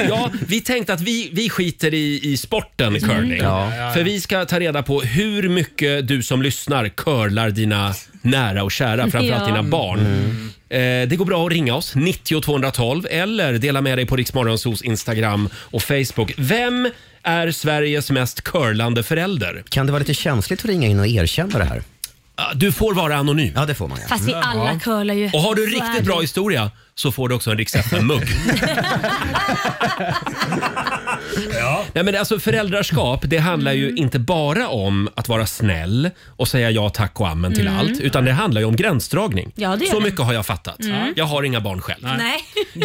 Ja, vi tänkte att vi, vi skiter i, i sporten Mm. curling. Ja. Ja, ja, ja. För vi ska ta reda på hur mycket du som lyssnar curlar dina nära och kära, framförallt Ja. dina barn. Mm. Eh, Det går bra att ringa oss, 90 212 eller dela med dig på Riksmorgonsos Instagram och Facebook. Vem är Sveriges mest curlande förälder? Ah, Kan det vara lite känsligt att ringa in och erkänna det här? Du får vara anonym. Ja, det får man. Ja. Fast vi alla curlar ju. Och har du Så är riktigt det. bra historia så får du också en Rix mugg *laughs* Nej, men alltså, föräldraskap det handlar ju Mm. inte bara om att vara snäll och säga ja tack och amen till Mm. allt. Utan det handlar ju om gränsdragning. Ja, det gör så det. mycket har jag fattat. Mm. Jag har inga barn själv. Nej.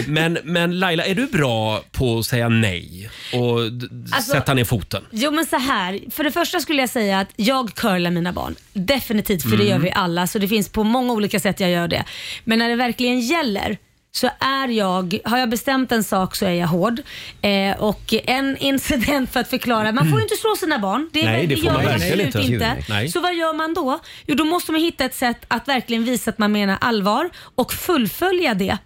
*laughs* Men, men Laila, är du bra på att säga nej och d- d- Alltså- sätta ner foten? Jo men så här. För det första skulle jag säga att jag curlar mina barn. Definitivt, för det Mm. gör vi alla. Så det finns på många olika sätt jag gör det. Men när det verkligen gäller så är jag, har jag bestämt en sak så är jag hård. Eh, och en incident för att förklara, man får ju inte slå sina barn. Det, är Nej, väl- det får gör man jag verkligen absolut inte. Nej. Så vad gör man då? Jo, då måste man hitta ett sätt att verkligen visa att man menar allvar och fullfölja det.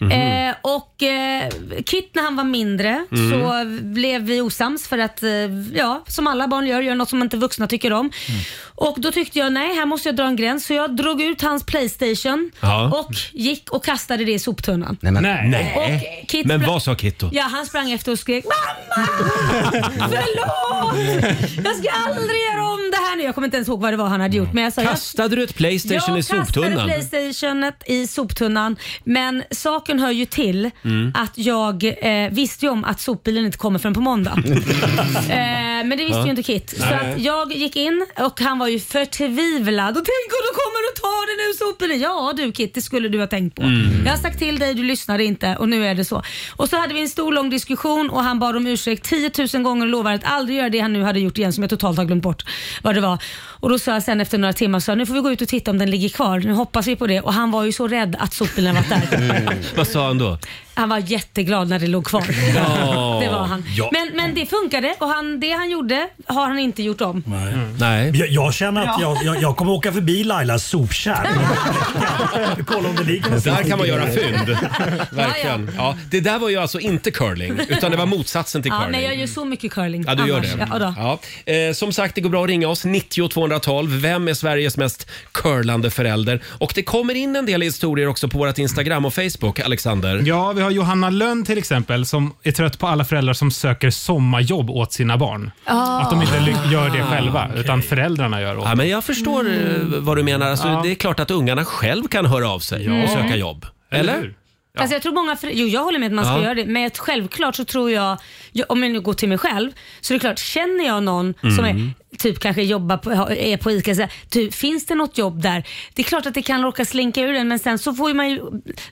Mhm. Eh, och eh, Kit när han var mindre Mhm. Mm. så blev vi osams för att, eh, ja, som alla barn gör, gör något som inte vuxna tycker om. Mm. Och då tyckte jag, nej, här måste jag dra en gräns. Så jag drog ut hans Playstation Ja. och gick och kastade det i soptunnan. Nej, men, Och Kit men sprang- vad sa Kitto? Ja, han sprang efter och skrek “Mamma! Förlåt! Jag ska aldrig göra om det här nu!” Jag kommer inte ens ihåg vad det var han hade gjort. Men jag sa, jag, Kastade du ett Playstation i jag soptunnan? kastade Playstationet i soptunnan. Men saken hör ju till Mm. att jag eh, visste ju om att sopbilen inte kommer förrän på *laughs* måndag. eh, men det visste Ja. ju inte Kit. Så Nej. att jag gick in och han var ju förtvivlad. Och tänk om de kommer och tar den ur sopbilen. Ja du Kit, det skulle du ha tänkt på. Mm. Jag har sagt till dig, du lyssnade inte och nu är det så. Och så hade vi en stor lång diskussion och han bad om ursäkt 10 000 gånger och lovade att aldrig göra det han nu hade gjort igen som jag totalt har glömt bort vad det var. Och då sa jag sen efter några timmar, så här, nu får vi gå ut och titta om den ligger kvar. Nu hoppas vi på det. Och han var ju så rädd att sopbilen var där. *laughs* Vad sa han då? Han var jätteglad när det låg kvar. Ja. *laughs* Det var han. Ja. Men, men det funkade och han, det han gjorde har han inte gjort om. *laughs* Nej. Jag, jag känner att Ja. jag, jag, jag kommer åka förbi Lailas sopkärl. Vi kollar om det ligger något Där sånt kan man i- göra fynd. Verkligen. Ja, det där var ju alltså inte curling, utan det var motsatsen till Ja, curling. men jag gör så mycket curling. Ja, du gör annars. det. Ja, då. Ja. Eh, som sagt, det går bra att ringa oss. 90 212. Vem är Sveriges mest curlande förälder? Och det kommer in en del historier också på vårt Instagram och Facebook, Alexander. Ja, vi har Johanna Lönn till exempel som är trött på alla föräldrar som söker sommarjobb åt sina barn. Ah. Att de inte ly- gör det Ah, själva, utan föräldrarna gör åt Ah. Ja, men jag förstår eh, Mm. vad du menar. Alltså, Ja. Det är klart att ungarna själv kan höra av sig Ja. och söka jobb. Eller? Eller hur? Alltså jag tror många, för, jo jag håller med att man ska Ja. göra det, men jag- självklart så tror jag, jag, om jag nu går till mig själv, så det är klart, känner jag någon som Mm. är typ kanske jobbar på, ha- är på ICA, så här, typ, finns det något jobb där? Det är klart att det kan råka slinka ur en men sen så får ju man ju,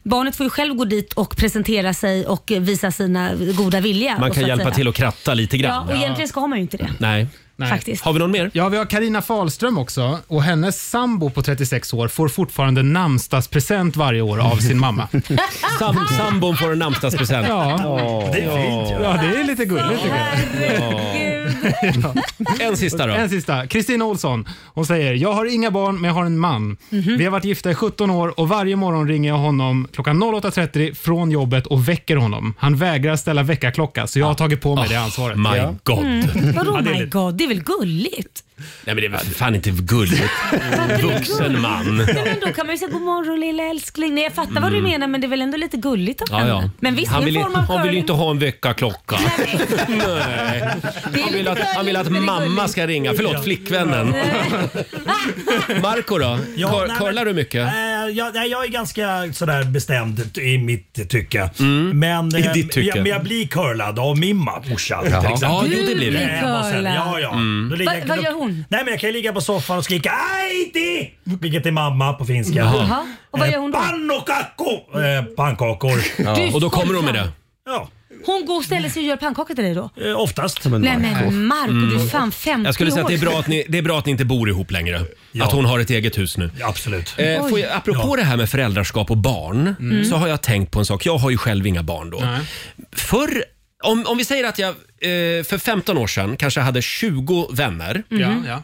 barnet får ju själv gå dit och presentera sig och eh, visa sina goda vilja. Man och kan så att hjälpa säga. till och kratta lite Ja, grann. och egentligen ska man ju inte det. Nej. Faktiskt. Har vi någon mer? Ja, vi har Karina Falström också och hennes sambo på 36 år får fortfarande namnsdagspresent varje år av sin *laughs* mamma. Sam sambon får en namnsdagspresent. Ja. Det är fint ju. Ja, det är lite gulligt tycker jag. En sista då. En sista. Kristina Olsson. Hon säger, jag har inga barn men jag har en man. Vi har varit gifta i 17 år och varje morgon ringer jag honom klockan 08.30 från jobbet och väcker honom. Han vägrar ställa väckarklocka så jag har tagit på mig det ansvaret. Ah. my god. *laughs* Mm. Vadå Ja, det är my lite- god, det är väl gulligt? Nej men det är väl för fan *laughs* inte gulligt. Vuxen man. Nej, men då kan man ju säga god morgon lilla älskling. Nej jag fattar vad du Mm. menar men det är väl ändå lite gulligt av Ja, henne. ja. Men visst, han det är vill, en ju- form av han vill ju curling. inte ha en väckarklocka. Nej. Han vill att, han vill att mamma ska ringa. Förlåt, flickvännen. Marco då? Ja, Cur- nej, men- curlar du mycket? Eh, jag, nej, jag är ganska sådär bestämd i mitt tycke. Men, Mm. I eh, ditt tycke. Jag, men jag blir curlad av min ma- morsa till Jaha. exempel. Ja, jo, det blir du. Eh, och sen- Curlad. Ja, ja. Mm. Då ligger Vad- jag- vad gör då- hon? Nej, men jag kan ju ligga på soffan och skrika Aiti! Vilket är mamma på finska. Jaha. Och vad Eh, gör hon då? Pannokakko! Eh, pannkakor. Ja. Och då kommer hon med det. Ja. Hon går och ställer sig och gör pannkaka till dig då? Eh, Oftast. Nej men Marco, du är fan 50 Mm. Jag skulle säga att det är bra år. att ni, det är bra att ni inte bor ihop längre. Att hon har ett eget hus nu. absolut. Eh, får Oj. jag, apropå det här med föräldraskap och barn Mm. så har jag tänkt på en sak. Jag har ju själv inga barn då. Nej. Förr, om, om vi säger att jag eh, för 15 år sedan kanske hade 20 vänner. Mm. Ja, ja.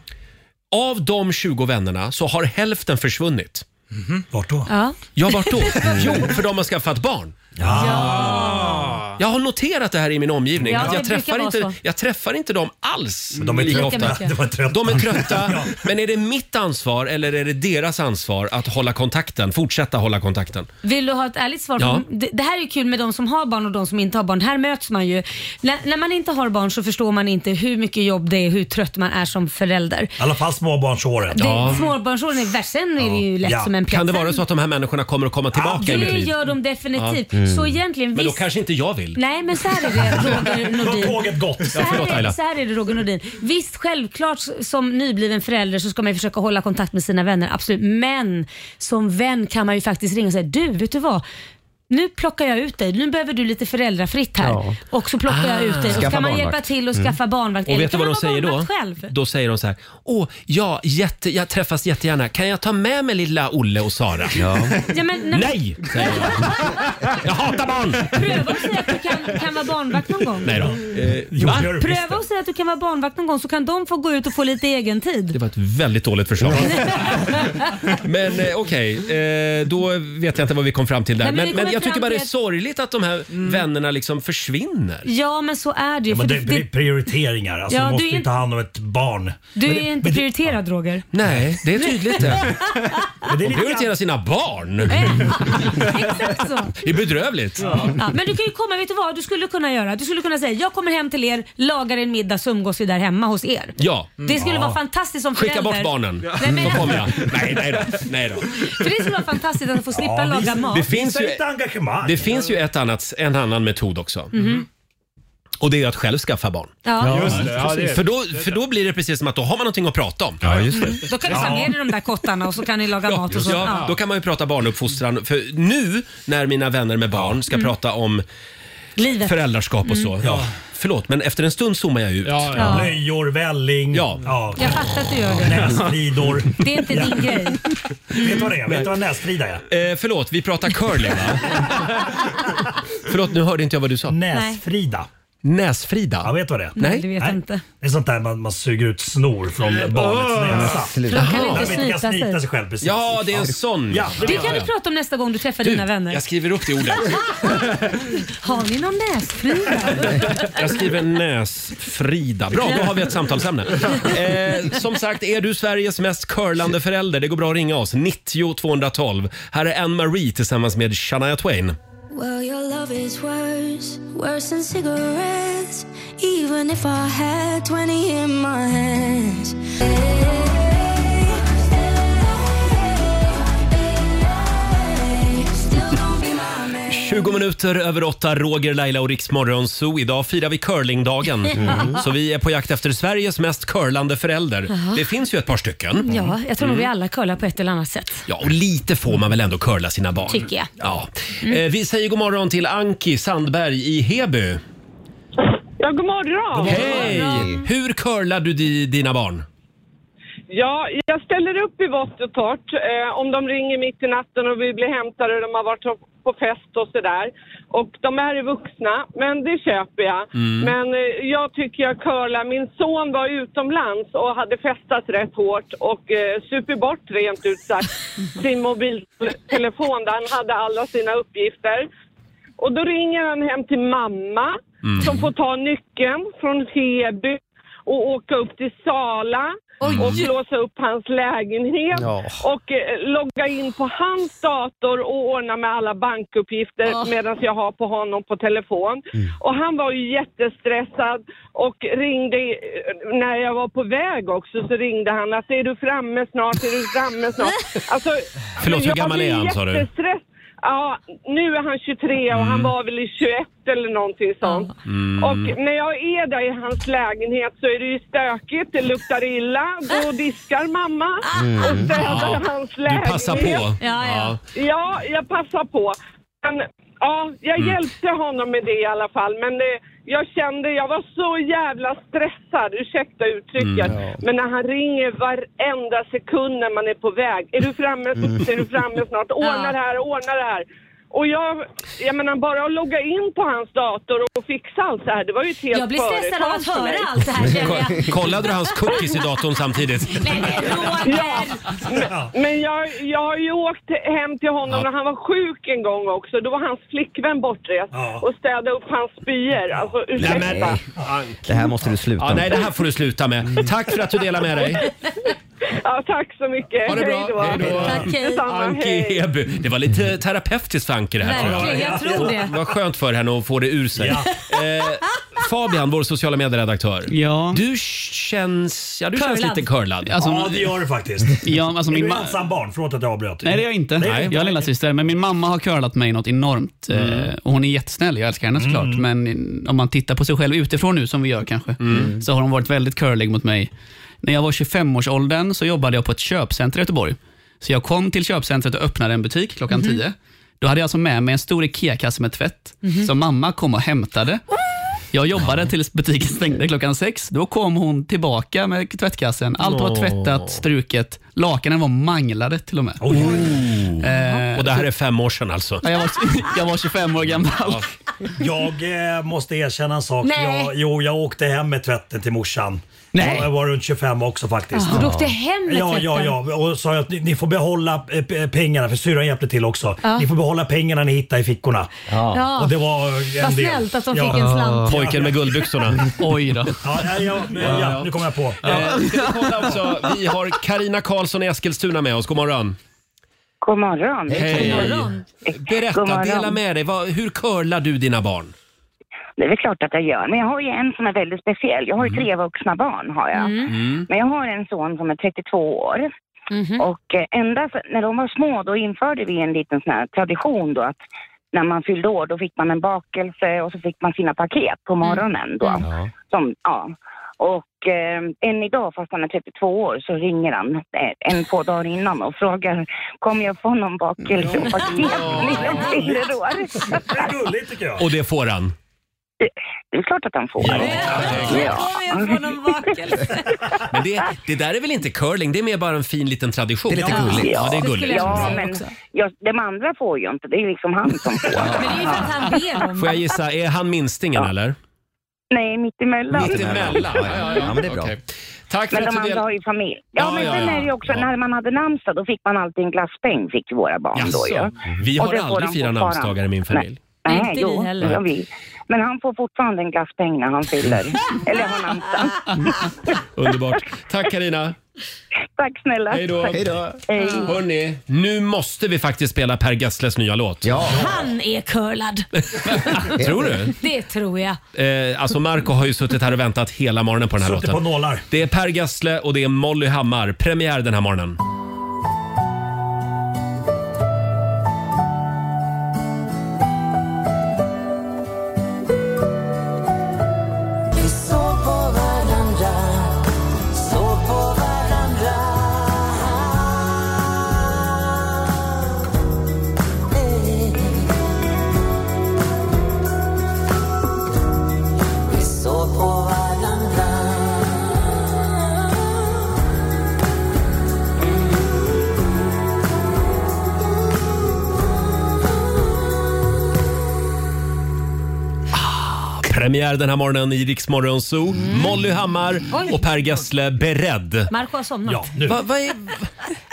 Av de 20 vännerna så har hälften försvunnit. Vart då? Ja. Mhm. Ja, vart *laughs* då? Mm. Jo, för de har skaffat barn. Ja. Jag har noterat det här i min omgivning. Ja, att jag, det brukar träffar vara inte, så. jag träffar inte dem alls Men de är lika trötta. ofta. De är trötta. De är *laughs* trötta. Men är det mitt ansvar eller är det deras ansvar att hålla kontakten? Fortsätta hålla kontakten? Vill du ha ett ärligt svar? Mm, Ja. Det, det här är ju kul med de som har barn och de som inte har barn. Här möts man ju. När, när man inte har barn så förstår man inte hur mycket jobb det är, hur trött man är som förälder. I alla fall småbarnsåren. Det, Småbarnsåren är värst, sen är det ju lätt som en plätt. Kan det vara så att de här människorna kommer att komma tillbaka i mitt Det liv? gör de definitivt. Ja. Mm. Så egentligen, Men då visst- kanske inte jag vill. Nej, men så här är det Roger Nordin. Tåget gått. Så Ja, här, förlåt, är, Laila. så här är det Roger Nordin. Visst, självklart som nybliven förälder så ska man ju försöka hålla kontakt med sina vänner, absolut. Men som vän kan man ju faktiskt ringa och säga, du vet du vad? Nu plockar jag ut dig. Nu behöver du lite föräldrafritt här. Ja. Ah. Och så plockar jag ut dig. Och så Skaffa kan man barnvakt. hjälpa till och Mm. skaffa barnvakt. Och Eller vet du kan vad de man vara säger då? barnvakt Själv. Då säger de så här. Åh, ja, jätte, jag träffas jättegärna. Kan jag ta med mig lilla Olle och *laughs* Sara? Ja, men, när- Nej, säger jag. Jag hatar barn! Pröva att säga att du kan, kan vara barnvakt någon gång. Nej då. Eh, va? Pröva att säga att du kan vara barnvakt någon gång så kan de få gå ut och få lite egen tid. Det var ett väldigt dåligt förslag. *laughs* Men eh, okej, eh, då vet jag inte vad vi kom fram till där. Nej, men men vi men kommer jag tycker fram bara det är till att- Mm. sorgligt att de här vännerna liksom försvinner. Ja, men så är det ju. Ja, men För det- det- Det är prioriteringar. Alltså, Ja, du måste du är ju ta hand om ett barn. Du Men det- är inte prioriterad Roger. Nej, det är tydligt *laughs* det. Men det är De lite prioriterar sina barn. Exakt så. Det är bedrövligt. Ja, men du kan ju komma, vet du vad du skulle kunna göra? Du skulle kunna säga jag kommer hem till er, lagar en middag så umgås vi där hemma hos er. Ja. Det skulle Ja. vara fantastiskt som Skicka förälder. bort barnen, Nej, men, så kommer jag. Nej, nej då. Nej då. *laughs* För det skulle vara fantastiskt att få slippa Ja, laga visst. mat. Det finns ju- Lite engagemang. Det finns ju ett annat, en annan metod också. Mhm. Och det är att själv skaffa barn. Ja. Ja, just det. Ja, det är- för, då, för då blir det precis som att då har man någonting att prata om. Ja, just Då kan du ta med dig de där kottarna och så kan ni laga mat och så. Ja, då kan man ju prata barnuppfostran. För nu när mina vänner med barn ska Mm. prata om Livet. föräldraskap och så. Mm. Ja. Förlåt, men efter en stund zoomar jag ut. Ja, ja. Ja. Blöjor, välling. Ja. Jag fattar att du gör det. Näsfridor. Det är inte din grej. Vet du vad det är? Vet du vad näsfrida är? Eh, förlåt, vi pratar curling *laughs* va? förlåt, nu hörde inte jag vad du sa. Näsfrida. Näsfrida? Ja, vet du vad det är? Nej, det vet jag inte. Det är sånt där man, man suger ut snor från barnets Åh! näsa. För de kan inte Jaha. snyta De kan sig. snyta sig själv precis. Mm. Ja, det är en sån. Ja, Det kan du prata om nästa gång du träffar dina vänner. Jag skriver upp det ordet. Har ni någon näsfrida? *laughs* Jag skriver näsfrida. Bra, då har vi ett samtalsämne. Eh, som sagt, är du Sveriges mest curlande förälder? Det går bra att ringa oss. 90 212. Här är Anne-Marie tillsammans med Shania Twain. Well, your love is worse, worse than cigarettes. Even if I had 20 in my hands. Still don't be my man. 20 minuter över åtta, Roger, Laila och Riksmorgon Zoo. Idag firar vi curlingdagen. Mm. Så vi är på jakt efter Sveriges mest curlande förälder. Jaha. Det finns ju ett par stycken. Ja, jag tror nog vi Mm. alla curlar på ett eller annat sätt. Ja, och lite får man väl ändå curla sina barn. Tycker jag. Ja. Eh, vi säger god morgon till Anki Sandberg i Heby. Ja, god morgon! Hej! Hur curlar du di, dina barn? Ja, jag ställer upp i vått och torrt eh, om de ringer mitt i natten och vi blir hämtade och de har varit på fest och sådär. Och de här är vuxna, men det köper jag. Mm. Men eh, jag tycker jag curlar. Min son var utomlands och hade festat rätt hårt och eh, super bort rent ut sagt sin mobiltelefon där han hade alla sina uppgifter. Och då ringer han hem till mamma Mm. som får ta nyckeln från Heby och åka upp till Sala och låsa upp hans lägenhet Ja. och eh, logga in på hans dator och ordna med alla bankuppgifter medan jag har på honom på telefon. Mm. Och han var ju jättestressad och ringde, eh, när jag var på väg också så ringde han att är du framme snart, är du framme snart? Alltså, Förlåt, hur jag gammal är blir han, sa du? jättestress- Ja, nu är han 23 och han var väl i 21 eller någonting sånt. Mm. Och när jag är där i hans lägenhet så är det ju stökigt, det luktar illa. Då diskar mamma Mm. och städar Ja, hans du lägenhet. passar på. Ja, ja. ja. jag passar på. Men Ja, jag Mm. hjälpte honom med det i alla fall. Men det, jag kände, jag var så jävla stressad, ursäkta uttrycket. Mm, ja. Men när han ringer varenda sekund när man är på väg. Är du framme? Mm. Är du framme snart? Ordna det här, ordna det här. Och jag, jag menar bara att logga in på hans dator och fixa allt det här, det var ju ett helt Jag blir stressad av att företag för höra mig. allt det här *laughs* känner jag. Ko- Kollade du hans cookies i datorn samtidigt? Ja, men, men jag, jag har ju åkt hem till honom när han var sjuk en gång också. Då var hans flickvän bortrest och städade upp hans spyor. Alltså ursäkta. Nej, men- Det här måste du sluta Ja, med. nej, det här får du sluta med. Tack för att du delar med dig. *laughs* Ja, tack så mycket. Ha det bra. Hej då. Tack, Detsamma, Anki hej. Heby. Det var lite terapeutiskt för Anki det här. tror Verkligen, jag tror det. Vad skönt för henne att få det ur sig. Eh, Fabian, vår sociala medieredaktör. Ja. Du känns, ja, du känns lite curlad. ja, det gör det faktiskt. Alltså, Ja, alltså är min du ma- ensam barn? Förlåt att jag avbröt. Nej, det är jag inte. Det är Jag har lilla syster, men min mamma har curlat mig något enormt. Eh, Och hon är jättesnäll, jag älskar henne såklart. Men om man tittar på sig själv utifrån nu, som vi gör kanske, Mm. så har hon varit väldigt curlig mot mig. När jag var 25-årsåldern så jobbade jag på ett köpcenter i Göteborg. Så jag kom till köpcentret och öppnade en butik klockan Mhm. 10. Då hade jag alltså med mig en stor IKEA-kasse med tvätt, Mhm. som mamma kom och hämtade. Jag jobbade tills butiken stängde klockan sex. Då kom hon tillbaka med tvättkassen. Allt var Åh. tvättat, struket. Lakanen var manglade till och med. Eh, Och det här är fem år sedan alltså. Ja, Jag var, *laughs* jag var 25 år gammal. Jag eh, måste erkänna en sak. Nej. Jag, jo, jag åkte hem med tvätten till morsan. Nej. Jag var runt 25 också faktiskt. Ah, du åkte hem med ja, ja, tvätten? ja. Och sa jag att ni, ni får behålla eh, p- pengarna, för syrran hjälpte till också. Ja. Ni får behålla pengarna ni hittar i fickorna. Ja. Och det var en Vad del. snällt att de fick en Ah. slant. Pojken med *laughs* guldbyxorna. Oj då. Ja, ja, ja, ja, nu kommer jag på. Eh, ska vi kolla också? Vi har Karina Karlsson i Eskilstuna med oss. God morgon. God morgon. Hej. God Berätta, morgon. dela med dig. Vad, hur curlar du dina barn? Det är väl klart att jag gör, men jag har ju en som är väldigt speciell. Jag har ju Mm. tre vuxna barn har jag. Mm. Men jag har en son som är 32 år. Och eh, ända sen- när de var små då införde vi en liten sån här tradition då att när man fyllde år då fick man en bakelse och så fick man sina paket på Mm. morgonen då. Som, Mm. ja. Och eh, än idag, fast han är 32 år, så ringer han eh, en, två dagar innan och frågar kommer jag få någon bakelse och paket när jag fyller år? Det är gulligt tycker jag. Och det får han? Det är klart att han får. Men det, det där är väl inte curling, det är mer bara en fin liten tradition. Det är lite gulligt. Ja, det är gulligt. Ja, men jag, de andra får ju inte. Det är liksom han som *laughs* får. Får jag gissa, är han minstingen eller? Nej, mittemellan. Mittemellan? Ja, ja, ja. men det är bra. Okej. Tack för Men att de du andra del... har ju familj. Ja, Ja, men ja, sen ja. är det ju också när man hade namnsdag, då fick man alltid en glasspeng, fick ju våra barn då ju. Jaså, Vi Och har det får aldrig de firat fortfarande. namnsdagar i min familj. Nej, Inte vi jo, heller. det gör vi. Men han får fortfarande en glasspeng när han fyller. Eller har namnsdag. Underbart. *laughs* Tack Karina. Tack snälla. Hej då. Tack. Hej. Hörni, nu måste vi faktiskt spela Per Gessles nya låt. Ja. Han är curlad. *laughs* Tror du? Det tror jag. Eh, alltså Marco har ju suttit här och väntat hela morgonen på den här Suttit låten. på nålar. Det är Per Gessle och det är Molly Hammar. Premiär den här morgonen. *laughs* Vi såg på varandra, såg på varandra Eh. Vi såg på varandra Premiär den här morgonen i Rix Morgon Zoo. Molly Hammar och Per Gessle beredd. Marco har somnat. Ja, nu. Va- vad är-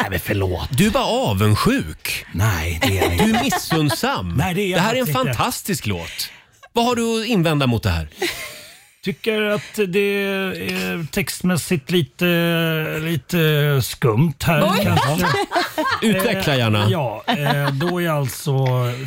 Nej men förlåt. Du är bara avundsjuk. Nej, det är Du är missundsam. Nej, det är jag här är en faktiskt inte. fantastisk låt. Vad har du att invända mot det här? Tycker att det är textmässigt lite, lite skumt här. *laughs* Oj. kanske. *laughs* Utveckla Eh, gärna. Ja, eh, då är alltså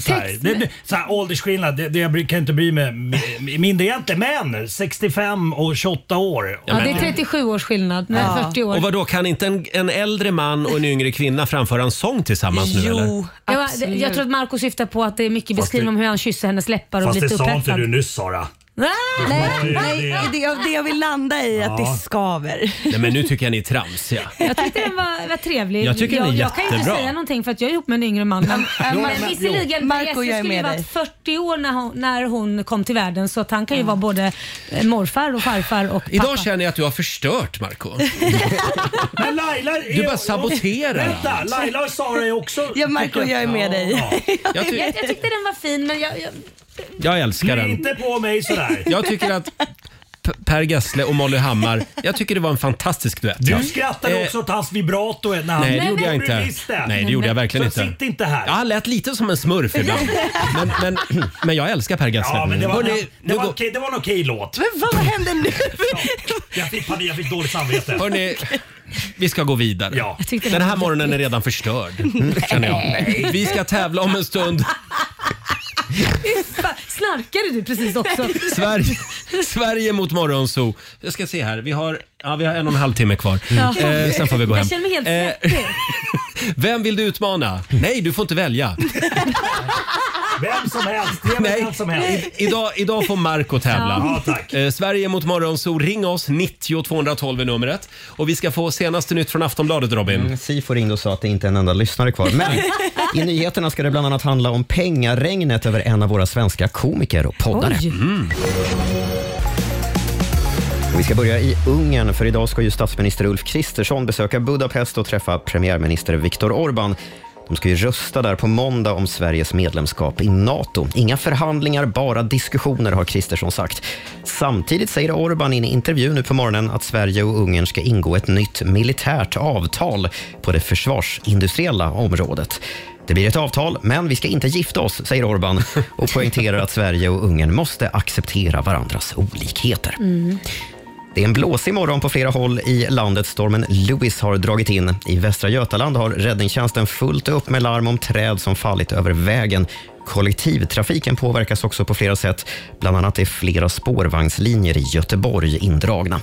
så här, det, det, så här, åldersskillnad, det, det jag bry- kan inte bry mig mi- mindre egentligen. Men 65 och 28 år. Ja, det är 37 års skillnad. Nej, 40 år. Och vad då kan inte en, en äldre man och en yngre kvinna framföra en sång tillsammans nu eller? Jag, var- absolut. jag tror att Marco syftar på att det är mycket beskrivning om hur han kysser hennes läppar och Fast blir det lite sa inte upphetsad. du nyss Sara. Nej, nej det, jag- det jag vill landa i är att Ja. det skaver. Nej, men nu tycker jag ni är tramsiga. Jag tyckte den var, var trevlig. Jag tycker den är jag, jag kan ju inte jättebra. säga någonting för att jag är ihop med en yngre man. Men, men, Jo, men- visserligen, jo. Marco, Marco, Jesse jag är skulle ju med varit dig. 40 år när hon, när hon kom till världen så att han kan ju vara både eh, morfar och farfar och pappa. Idag känner jag att du har förstört, Marco Men Laila... är- Du bara saboterar Vänta, allt. Laila och Sara är också... Ja, Marco, *laughs* jag är med dig. Jag ty- *laughs* jag, jag tyckte den var fin men jag, jag, Jag älskar den. Inte på mig sådär. Jag tycker att P- Per Gessle och Molly Hammar, jag tycker det var en fantastisk duett. Du Ja. skrattade Eh, också åt hans vibrato när han... Nej, det gjorde jag inte. Visst det. Nej, det gjorde jag verkligen Så inte. sitt inte här. Jag lät lite som en *laughs* smurf ibland. Men, men, *clears throat* men jag älskar Per Gessle. Ja, men det var, Hörrni, det var, okej, det var en okej låt. Men vad hände nu? Jag fick panik, jag fick dåligt samvete. Hörrni, vi ska gå vidare. Jag tyckte det Den var här morgonen är jätteviktigt. redan förstörd. Känner jag. Vi ska tävla om en stund. Fan, *laughs* Snarkade du precis också? *laughs* Sverige, Sverige mot Morgonzoo. Jag ska se här. Vi har, ja, vi har en och en halv timme kvar. Eh, sen får vi gå hem. Jag känner mig helt Eh, svettig. *laughs* Vem vill du utmana? Nej, du får inte välja. Vem som helst, ge mig vem som helst. I, idag, idag får Marco tävla. Ja. Ja, tack. Eh, Sverige mot Morgonzoo. Ring oss, 90 212 är numret. Och vi ska få senaste nytt från Aftonbladet, Robin. Mm, Sifo ringde och sa att det inte är en enda lyssnare kvar. *laughs* Men i nyheterna ska det bland annat handla om pengaregnet över en av våra svenska komiker och poddare. Oj. Mm. Och Vi ska börja i Ungern, för idag ska ju statsminister Ulf Kristersson besöka Budapest och träffa premiärminister Viktor Orbán. De ska ju rösta där på måndag om Sveriges medlemskap i NATO. Inga förhandlingar, bara diskussioner, har Kristersson sagt. Samtidigt säger Orbán i en intervju nu på morgonen att Sverige och Ungern ska ingå ett nytt militärt avtal på det försvarsindustriella området. Det blir ett avtal, men vi ska inte gifta oss, säger Orbán och poängterar att Sverige och Ungern måste acceptera varandras olikheter. Mm. Det är en blåsig morgon på flera håll i landet. Stormen Louis har dragit in. I Västra Götaland har räddningstjänsten fullt upp med larm om träd som fallit över vägen. Kollektivtrafiken påverkas också på flera sätt. Bland annat är flera spårvagnslinjer i Göteborg indragna.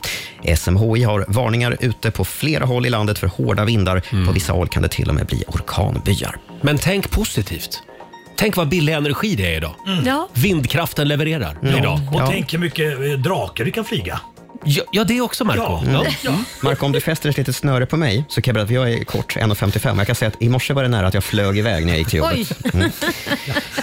SMHI har varningar ute på flera håll i landet för hårda vindar. På vissa håll kan det till och med bli orkanbyar. Men tänk positivt. Tänk vad billig energi det är idag. Ja. Vindkraften levererar Ja. idag. Mm. Och Ja. tänk hur mycket eh, drakar du kan flyga. Ja, ja det också Marco. Ja. Mm. Ja. Mm. Ja. *laughs* Marco, om du fäster ett litet snöre på mig så kan jag berätta att jag är kort, 1,55. Jag kan säga att i morse var det nära att jag flög iväg när jag gick till Oj! jobbet. Mm.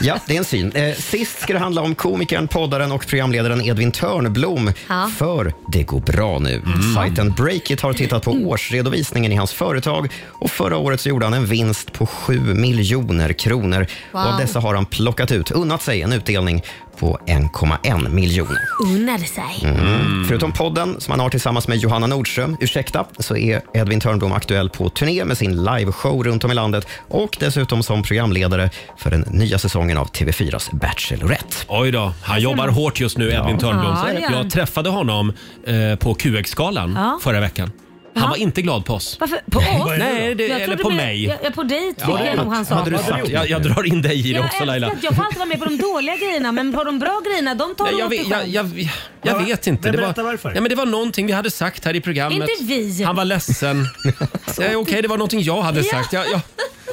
Ja, det är en syn. Eh, sist ska det handla om komikern, poddaren och programledaren Edvin Törnblom. Ja. För det går bra nu. Sajten Breakit har tittat på årsredovisningen i hans företag och förra året så gjorde han en vinst på 7 miljoner kronor. Wow. Och av dessa har han plockat ut, unnat sig en utdelning på 1,1 miljoner. Unnade sig. Mm. Förutom podden som han har tillsammans med Johanna Nordström, Ursäkta, så är Edvin Törnblom aktuell på turné med sin liveshow runt om i landet och dessutom som programledare för den nya säsongen av TV4s Bachelorette. Oj då, han jobbar hårt just nu, Edvin Törnblom. Ja, det gör han. Jag träffade honom eh, på QX-galan Ja. förra veckan. Han var inte glad på oss. Varför? På oss? Nej, det, Jag eller trodde på med- mig. Ja, ja, på dig tycker jag nog han sa. Hade du sagt, jag, jag drar in dig i det jag också Laila. älskar att Jag får alltid vara med på de dåliga grejerna men på de bra grejerna, de tar Nej, de jag, åt vet, sig jag, själv. jag, jag vet inte. Men Det berätta var, varför. nej, men det var någonting vi hade sagt här i programmet. Inte vi. typ- Han *laughs* var ledsen. Ja, Okej, det var någonting jag hade Ja. sagt. Jag, *laughs* jag,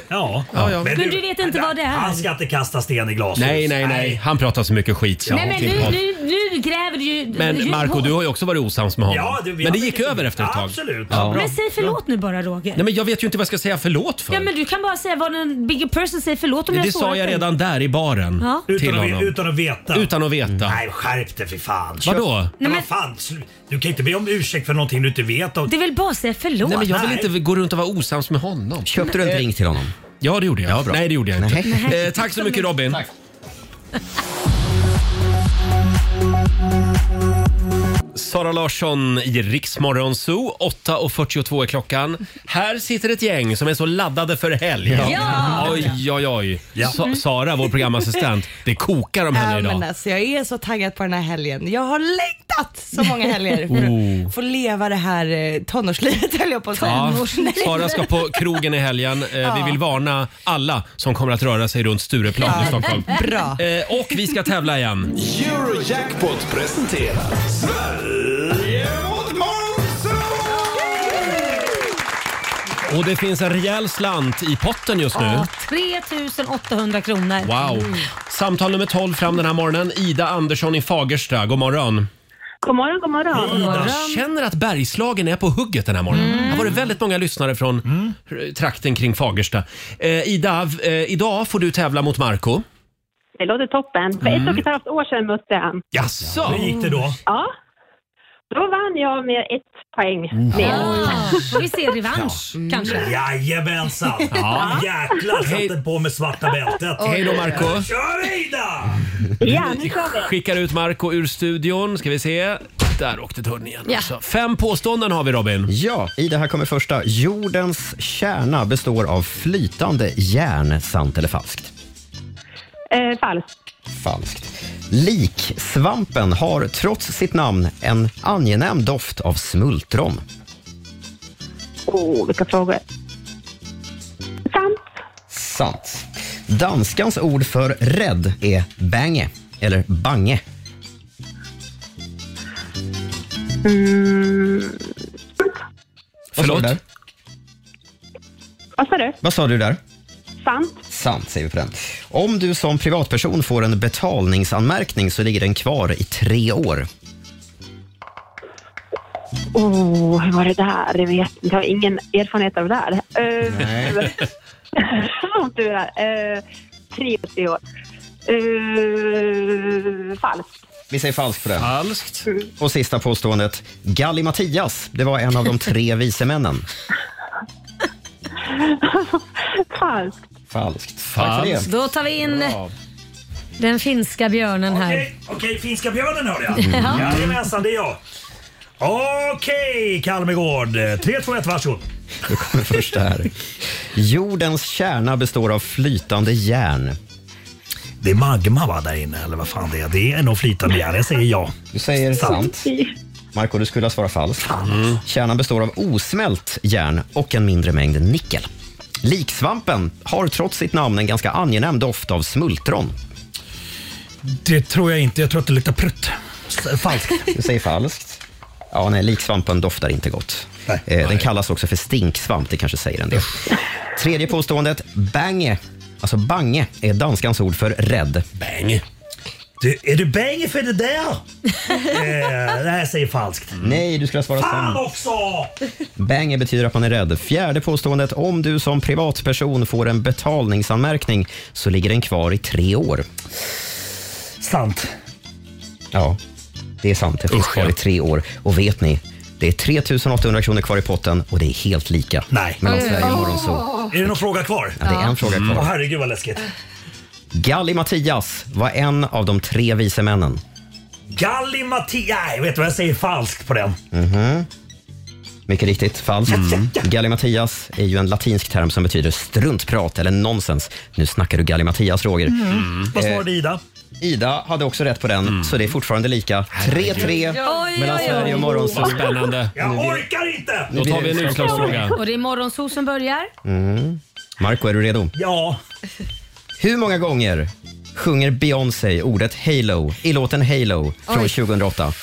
Ja. Ja, ja. Men du vet inte vad det är. Han ska inte kasta sten i glashus. nej, nej, nej. Han pratar så mycket skit. Nej men till nu, podd. nu, nu gräver du ju... men ju Marco, hårt. du har ju också varit osams med honom. Ja, du, vi men det har gick blivit- över efter ett tag. Absolut. Ja. Men säg förlåt nu bara Roger. Nej, men jag vet ju inte vad jag ska säga förlåt för. Ja men du kan bara säga vad en bigger person säger förlåt om jag det sårat sa jag dig. redan där i baren Ja. till Utan att, honom. ve- utan att veta. Mm. Utan att veta. Nej, skärp dig för fan. Vadå? Nej, men... Vad fan, slu- du kan inte be om ursäkt för någonting du inte vet. Och... Det är väl bara att säga förlåt. Nej, men jag vill inte gå runt och vara osams med honom. Köpte Eh, du en drink till honom? Ja, det gjorde jag. Nej, det gjorde jag inte. Nej. Eh, tack så mycket Robin. Sara Larsson i Riksmorgon Zoo. 8.42 är klockan. Här sitter ett gäng som är så laddade för helg. Ja! Oj, oj, oj. Sa- Sara, vår programassistent, det kokar om henne Ja, men idag. alltså, jag är så taggad på den här helgen. Jag har längtat så många helger för Oh. att få leva det här eh, tonårslivet höll jag på att säga. Ja, Nej. Sara ska på krogen i helgen. Eh, Ja. Vi vill varna alla som kommer att röra sig runt Stureplan i Ja, Stockholm. bra. Eh, Och vi ska tävla igen. Eurojackpot presenterar Sverige mot Och det finns en rejäl slant i potten just nu. Ja, 3800 kronor. *laughs* Wow! Samtal nummer 12 fram den här morgonen. Ida Andersson i Fagersta, god morgon. God morgon, god morgon. Jag känner att Bergslagen är på hugget den här morgonen. Mm. Det har varit väldigt många lyssnare från eh, trakten kring Fagersta. Eh, Ida, v- eh, idag får du tävla mot Marco. Det låter toppen. För Mm. ett och ett halvt år sedan mötte jag han. Jaså? Hur gick det då? Ja. Då vann jag med ett poäng Mm. mer. Får vi se revansch Mm. kanske? Jajamensan! Ja. Jäklar satte den på med svarta bältet. Hej då, Marco. Nu kör vi Ida! Ja, nu kör vi. Skickar ut Marco ur studion. Ska vi se. Där åkte tunneln igen. alltså. Fem påståenden har vi Robin. Ja, i det här kommer första. Jordens kärna består av flytande järn, sant eller falskt? Eh, falskt. Falskt. Liksvampen har trots sitt namn en angenäm doft av smultron. Åh, oh, vilka frågor. Sant. Sant. Danskans ord för rädd är bange, eller bange. Mm, Förlåt? vad sa du? Vad sa du där? Sant. Sant, säger vi på den. Om du som privatperson får en betalningsanmärkning så ligger den kvar i tre år. Åh, oh, hur var det där? Jag vet inte. Jag har ingen erfarenhet av det där. Eh, Nej. Om du är *laughs* eh, tre, tre år. Eh, falskt. Vi säger falskt på den. Falskt. Och sista påståendet. Gallimatias, det var en av de tre vise männen. falskt. Falskt. Tack för det. Då tar vi in Bra. den finska björnen här. Okej, okej, finska björnen hörde jag. Ja. Jajamensan, det är jag. Okej, Kalmegård. 3, 2, 1, varsågod. Då kommer första här. Jordens kärna består av flytande järn. Det är magma va, där inne, eller vad fan det är. Det är nog flytande järn. Jag säger ja. Du säger sant. Marco, du skulle ha svarat falskt. Kärnan består av osmält järn och en mindre mängd nickel. Liksvampen har trots sitt namn en ganska angenäm doft av smultron. Det tror jag inte. Jag tror att det luktar prutt. S- Falskt. Du säger falskt. Ja, nej, liksvampen doftar inte gott. Eh, Den kallas också för stinksvamp, det kanske säger en del. Tredje påståendet, bange. Alltså bange är danskans ord för rädd. Bang. Du, är du bäng för det där? eh, nej, jag säger falskt. Nej, du skulle ha svarat Fan sant. också! Bange betyder att man är rädd. Fjärde påståendet, om du som privatperson får en betalningsanmärkning så ligger den kvar i tre år. Sant. Ja, det är sant. Det finns kvar i tre år. Och vet ni, det är 3 800 kronor kvar i potten och det är helt lika Nej. mellan Sverige och Morgonzoo. Eh, Är det någon fråga kvar? Ja, det är en fråga kvar. Åh, herregud vad läskigt. Gallimatias var en av de tre vise männen. Gallimatias. Nej, vet du vad? Jag säger falskt på den. Mhm. Mycket riktigt, falskt. Mm. Gallimatias är ju en latinsk term som betyder struntprat eller nonsens. Nu snackar du Gallimatias, Roger. Mm. Vad Eh, svarade Ida? Ida hade också rätt på den, Mm. så det är fortfarande lika. 3-3 Oj, mellan oj, alltså- oj. Sverige och Morgonzoo. Vad spännande. Jag orkar inte! Då tar vi en utslagsfråga. Och det är morgonsol som börjar. Mm. Marco, är du redo? Ja. *laughs* Hur många gånger sjunger Beyoncé ordet Halo i låten Halo från Oj. 2008?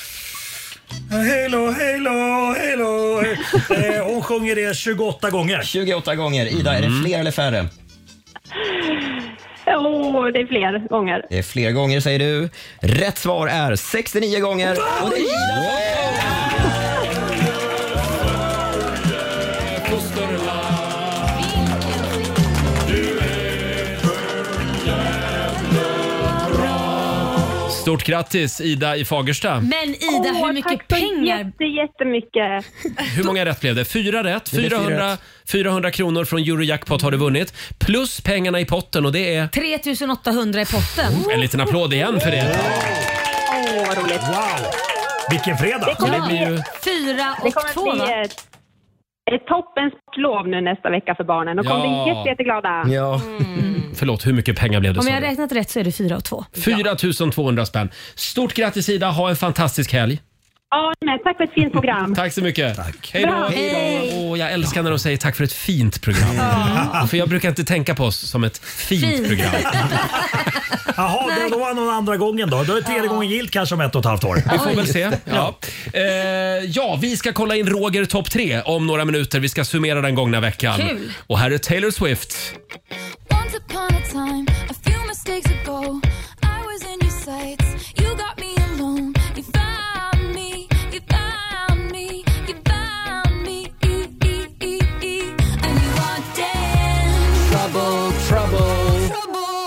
Hello, hello, hello. eh, hon sjunger det 28 gånger. 28 gånger. Ida, är det fler eller färre? Åh, det är fler gånger. Det är fler gånger säger du. Rätt svar är 69 gånger. Och det är Ida som- Stort grattis Ida i Fagersta. Men Ida, Åh, hur mycket tack så pengar? Jätte, jättemycket. Hur många rätt blev det? Fyra rätt. Det blev fyra 400, rätt. 400 kronor från Eurojackpot har du vunnit. Plus pengarna i potten och det är 3800 i potten. en liten applåd igen för det. Åh, vad roligt. Wow! Vilken fredag! Så det blir ju... Fyra Det och två kommer bli va? ett, ett toppens lov nu nästa vecka för barnen. De kommer Ja. bli jätte, jätteglada. Mm. Ja. Förlåt, hur mycket pengar blev det? Om sa jag har du? räknat rätt så är det fyra och två. 4200 spänn. Stort grattis Ida, ha en fantastisk helg. Ja, men tack för ett fint program. Tack så mycket. Hej Bra, då. hej. Åh, jag älskar när de säger tack för ett fint program. *laughs* För jag brukar inte tänka på oss som ett fint, Fint. program. Jaha, det var någon andra gången då. Då är det tredje gången gilt kanske om ett och ett halvt år. Vi får väl se. Ja. Eh, ja, vi ska kolla in Roger topp tre om några minuter. Vi ska summera den gångna veckan. Kul. Och här är Taylor Swift. Once upon a time, a few mistakes ago,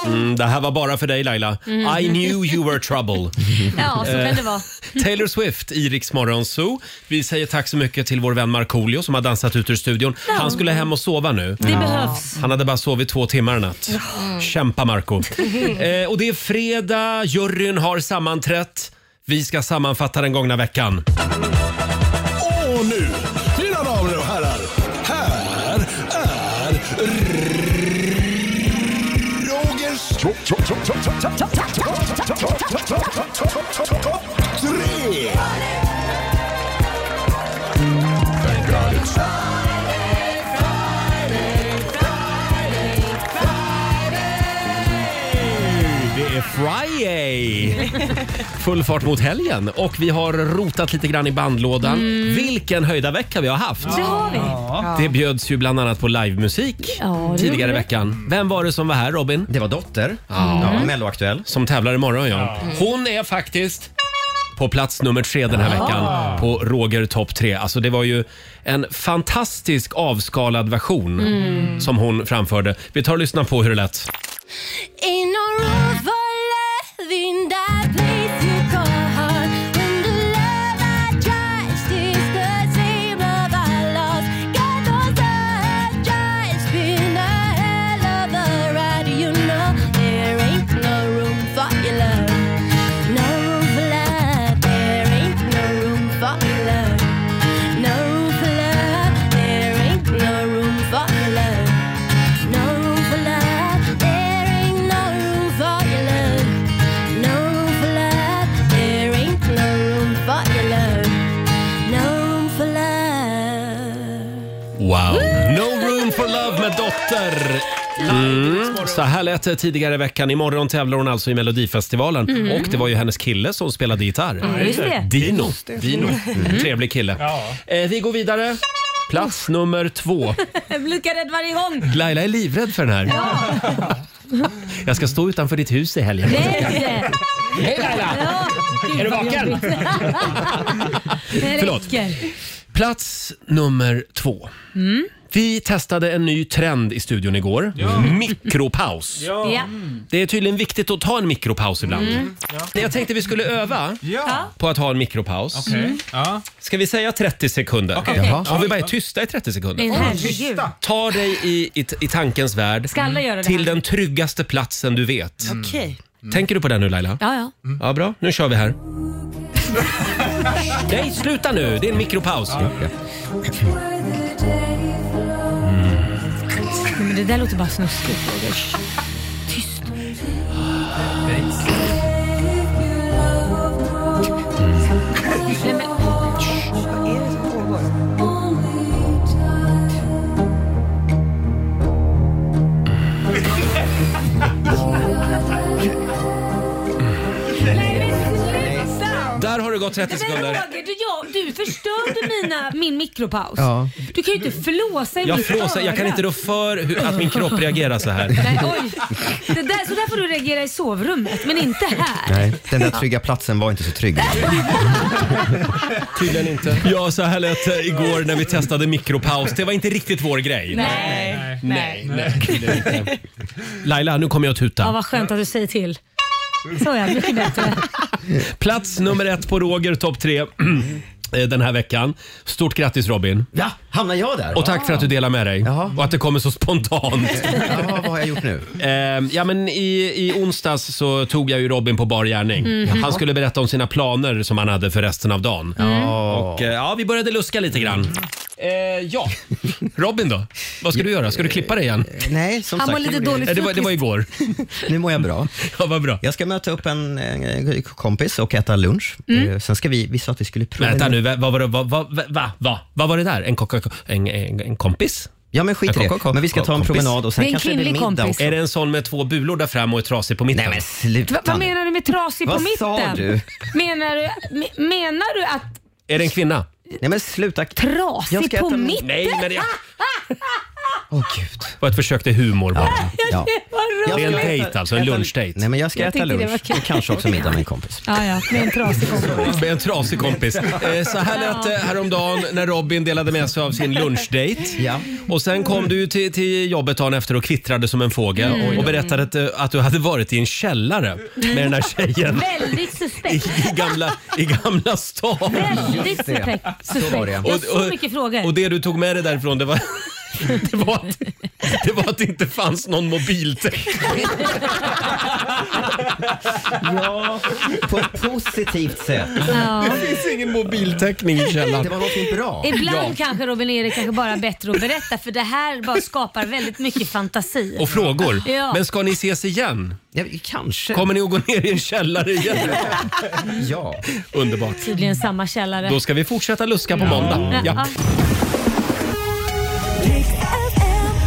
Mm, det här var bara för dig Laila. Mm. I knew you were trouble. Ja, så kan det Eh, vara. Taylor Swift i Rix Morgon Zoo. Vi säger tack så mycket till vår vän Markoolio som har dansat ut ur studion. Ja. Han skulle hem och sova nu. Det Ja. behövs. Han hade bara sovit två timmar i natt. Ja. *laughs* Kämpa Marco. eh, och det är fredag, juryn har sammanträtt. Vi ska sammanfatta den gångna veckan. Och nu, mina damer och herrar, här är Rogers... Tre! Det är Friday! Full fart mot helgen och vi har rotat lite grann i bandlådan. Mm. Vilken höjda vecka vi har haft! Det har vi. Det bjöds ju bland annat på livemusik Ja, det gjorde tidigare det. i veckan. Vem var det som var här Robin? Det var Dotter, Ja, Melloaktuell. Som tävlar imorgon ja. Hon är faktiskt på plats nummer tre den här Ja. veckan på Roger topp tre. Alltså det var ju en fantastisk avskalad version Mm. som hon framförde. Vi tar och lyssnar på hur det lät. Ain't no room for love in that place you call home. When the love I trust is the same love I lost. God knows I've just been a hell of a ride. You know there ain't no room for your love. No room for love. There ain't no room for your love. No room for love. There ain't no room for your love. No room for love, there ain't no room for your love. No room for love, there ain't no room for your love. No room for love. Wow! No room for love med Dotter! Mm. Så här lät det tidigare i veckan. Imorgon tävlar hon alltså i Melodifestivalen. Mm. Och det var ju hennes kille som spelade gitarr. Ja, just det. Dino. Just det. Dino. Mm. En Trevlig kille. Eh, vi går vidare. Plats nummer två. *laughs* Jag blir lika rädd varje gång. Laila är livrädd för den här. Jag ska stå utanför ditt hus i helgen. Nej! Hej Laila! Är du vaken? Det Förlåt. räcker. Plats nummer två. Mm. Vi testade en ny trend i studion igår. Mikropaus. Ja. Det är tydligen viktigt att ta en mikropaus ibland. Mm. Jag tänkte vi skulle öva på att ha en mikropaus. Okej. Mm. Ska vi säga 30 sekunder? Okej. Jaha. Om vi bara är tysta i 30 sekunder. Men herregud. Ta dig i, i, i tankens värld Ska alla göra det till här? den tryggaste platsen du vet. Mm. Okej. Tänker du på det nu Laila? Ja, ja. Ja, bra. Nu kör *laughs* vi här. Nej, sluta nu! Det är en mikropaus. Nej, Men det där låter bara snuskigt. Roger. Tyst. Nej, men- Där har det gått 30 Men sekunder. Roger, du, jag, du förstörde mina, min mikropaus. Ja. Du kan ju inte flåsa i Jag mitt flåsar. Jag kan öra. inte rå för hur, att min kropp reagerar så här. Nej, oj. Det där, så där får du reagera i sovrummet, men inte *laughs* här. Nej, den där trygga platsen var inte så trygg. Tydligen inte. Ja, så här lät det igår när vi testade mikropaus. Det var inte riktigt vår grej. Nej. Nej, nej, det är inte. Laila, nu kommer jag att Ja, tuta. vad skönt att du säger till. Så ja, mycket *laughs* bättre. Plats nummer ett på Roger, topp tre eh, den här veckan. Stort grattis Robin. Ja, hamnar jag där? Och tack för att du delar med dig. Och att det kommer så spontant. Jaha, vad har jag gjort nu? Eh, ja, men i, I onsdags så tog jag ju Robin på bar gärning. Mm. Han skulle berätta om sina planer som han hade för resten av dagen. Mm. Och, eh, ja, vi började luska lite grann. Eh, ja. Robin Mm. då? *laughs* Vad ska du göra? Ska du klippa dig igen? Eh, Nej, som Han sagt. mår lite nu blir- dålig Eh, det var- det var igår. *laughs* nu mår jag bra. Ja, vad bra. Jag ska möta upp en, eh, kompis och äta lunch. Mm. Eh, Sen ska vi, vi sa att vi skulle prova... Vänta nu, vad var det, vad, vad, vad, vad, vad, vad var det där? En, kock- en, en, en kompis? Ja men skit i det. Men vi ska ta en promenad och sen Det är en kanske det blir kvinnlig middag kompis. också. Är det en sån med två bulor där fram och är trasig på mitten? Nej men sluta Va, vad menar du med trasig på Vad mitten? sa du? Menar du, me- menar du att Är det en kvinna? Nej men sluta. Trasig på mitten? Nej men jag... Det var ett försök till humor bara. Ja. Det är en dejt alltså, en lunchdejt. Nej, men jag ska Jag äta tyckte det var lunch kul. och kanske också middag med en kompis. Ja, ja, med en trasig *laughs* kompis. Med en *laughs* trasig kompis. Eh, Så här lät det häromdagen när Robin delade med sig av sin lunchdate. Och sen kom du till, till jobbet dagen efter och kvittrade som en fågel Mm. och berättade att, eh, att du hade varit i en källare med den här Mm. *laughs* tjejen. Väldigt I, suspekt. i, gamla, I Gamla stan. Väldigt suspekt. suspekt. Jag har så mycket frågor. Och det du tog med dig därifrån det var, *laughs* det var, att, det var att det inte fanns någon mobiltäckning. Ja, *laughs* på ett positivt sätt. Ja. Det finns ingen mobiltäckning i källaren. Det var någonting bra. Ibland kanske Robin är det kanske bara bättre att berätta för det här bara skapar väldigt mycket fantasi. Och frågor. Ja. Men ska ni ses igen? kanske. Kommer ni att gå ner i en källare igen? *laughs* ja. Underbart. Tydligen samma källare. Då ska vi fortsätta luska på måndag. Ja.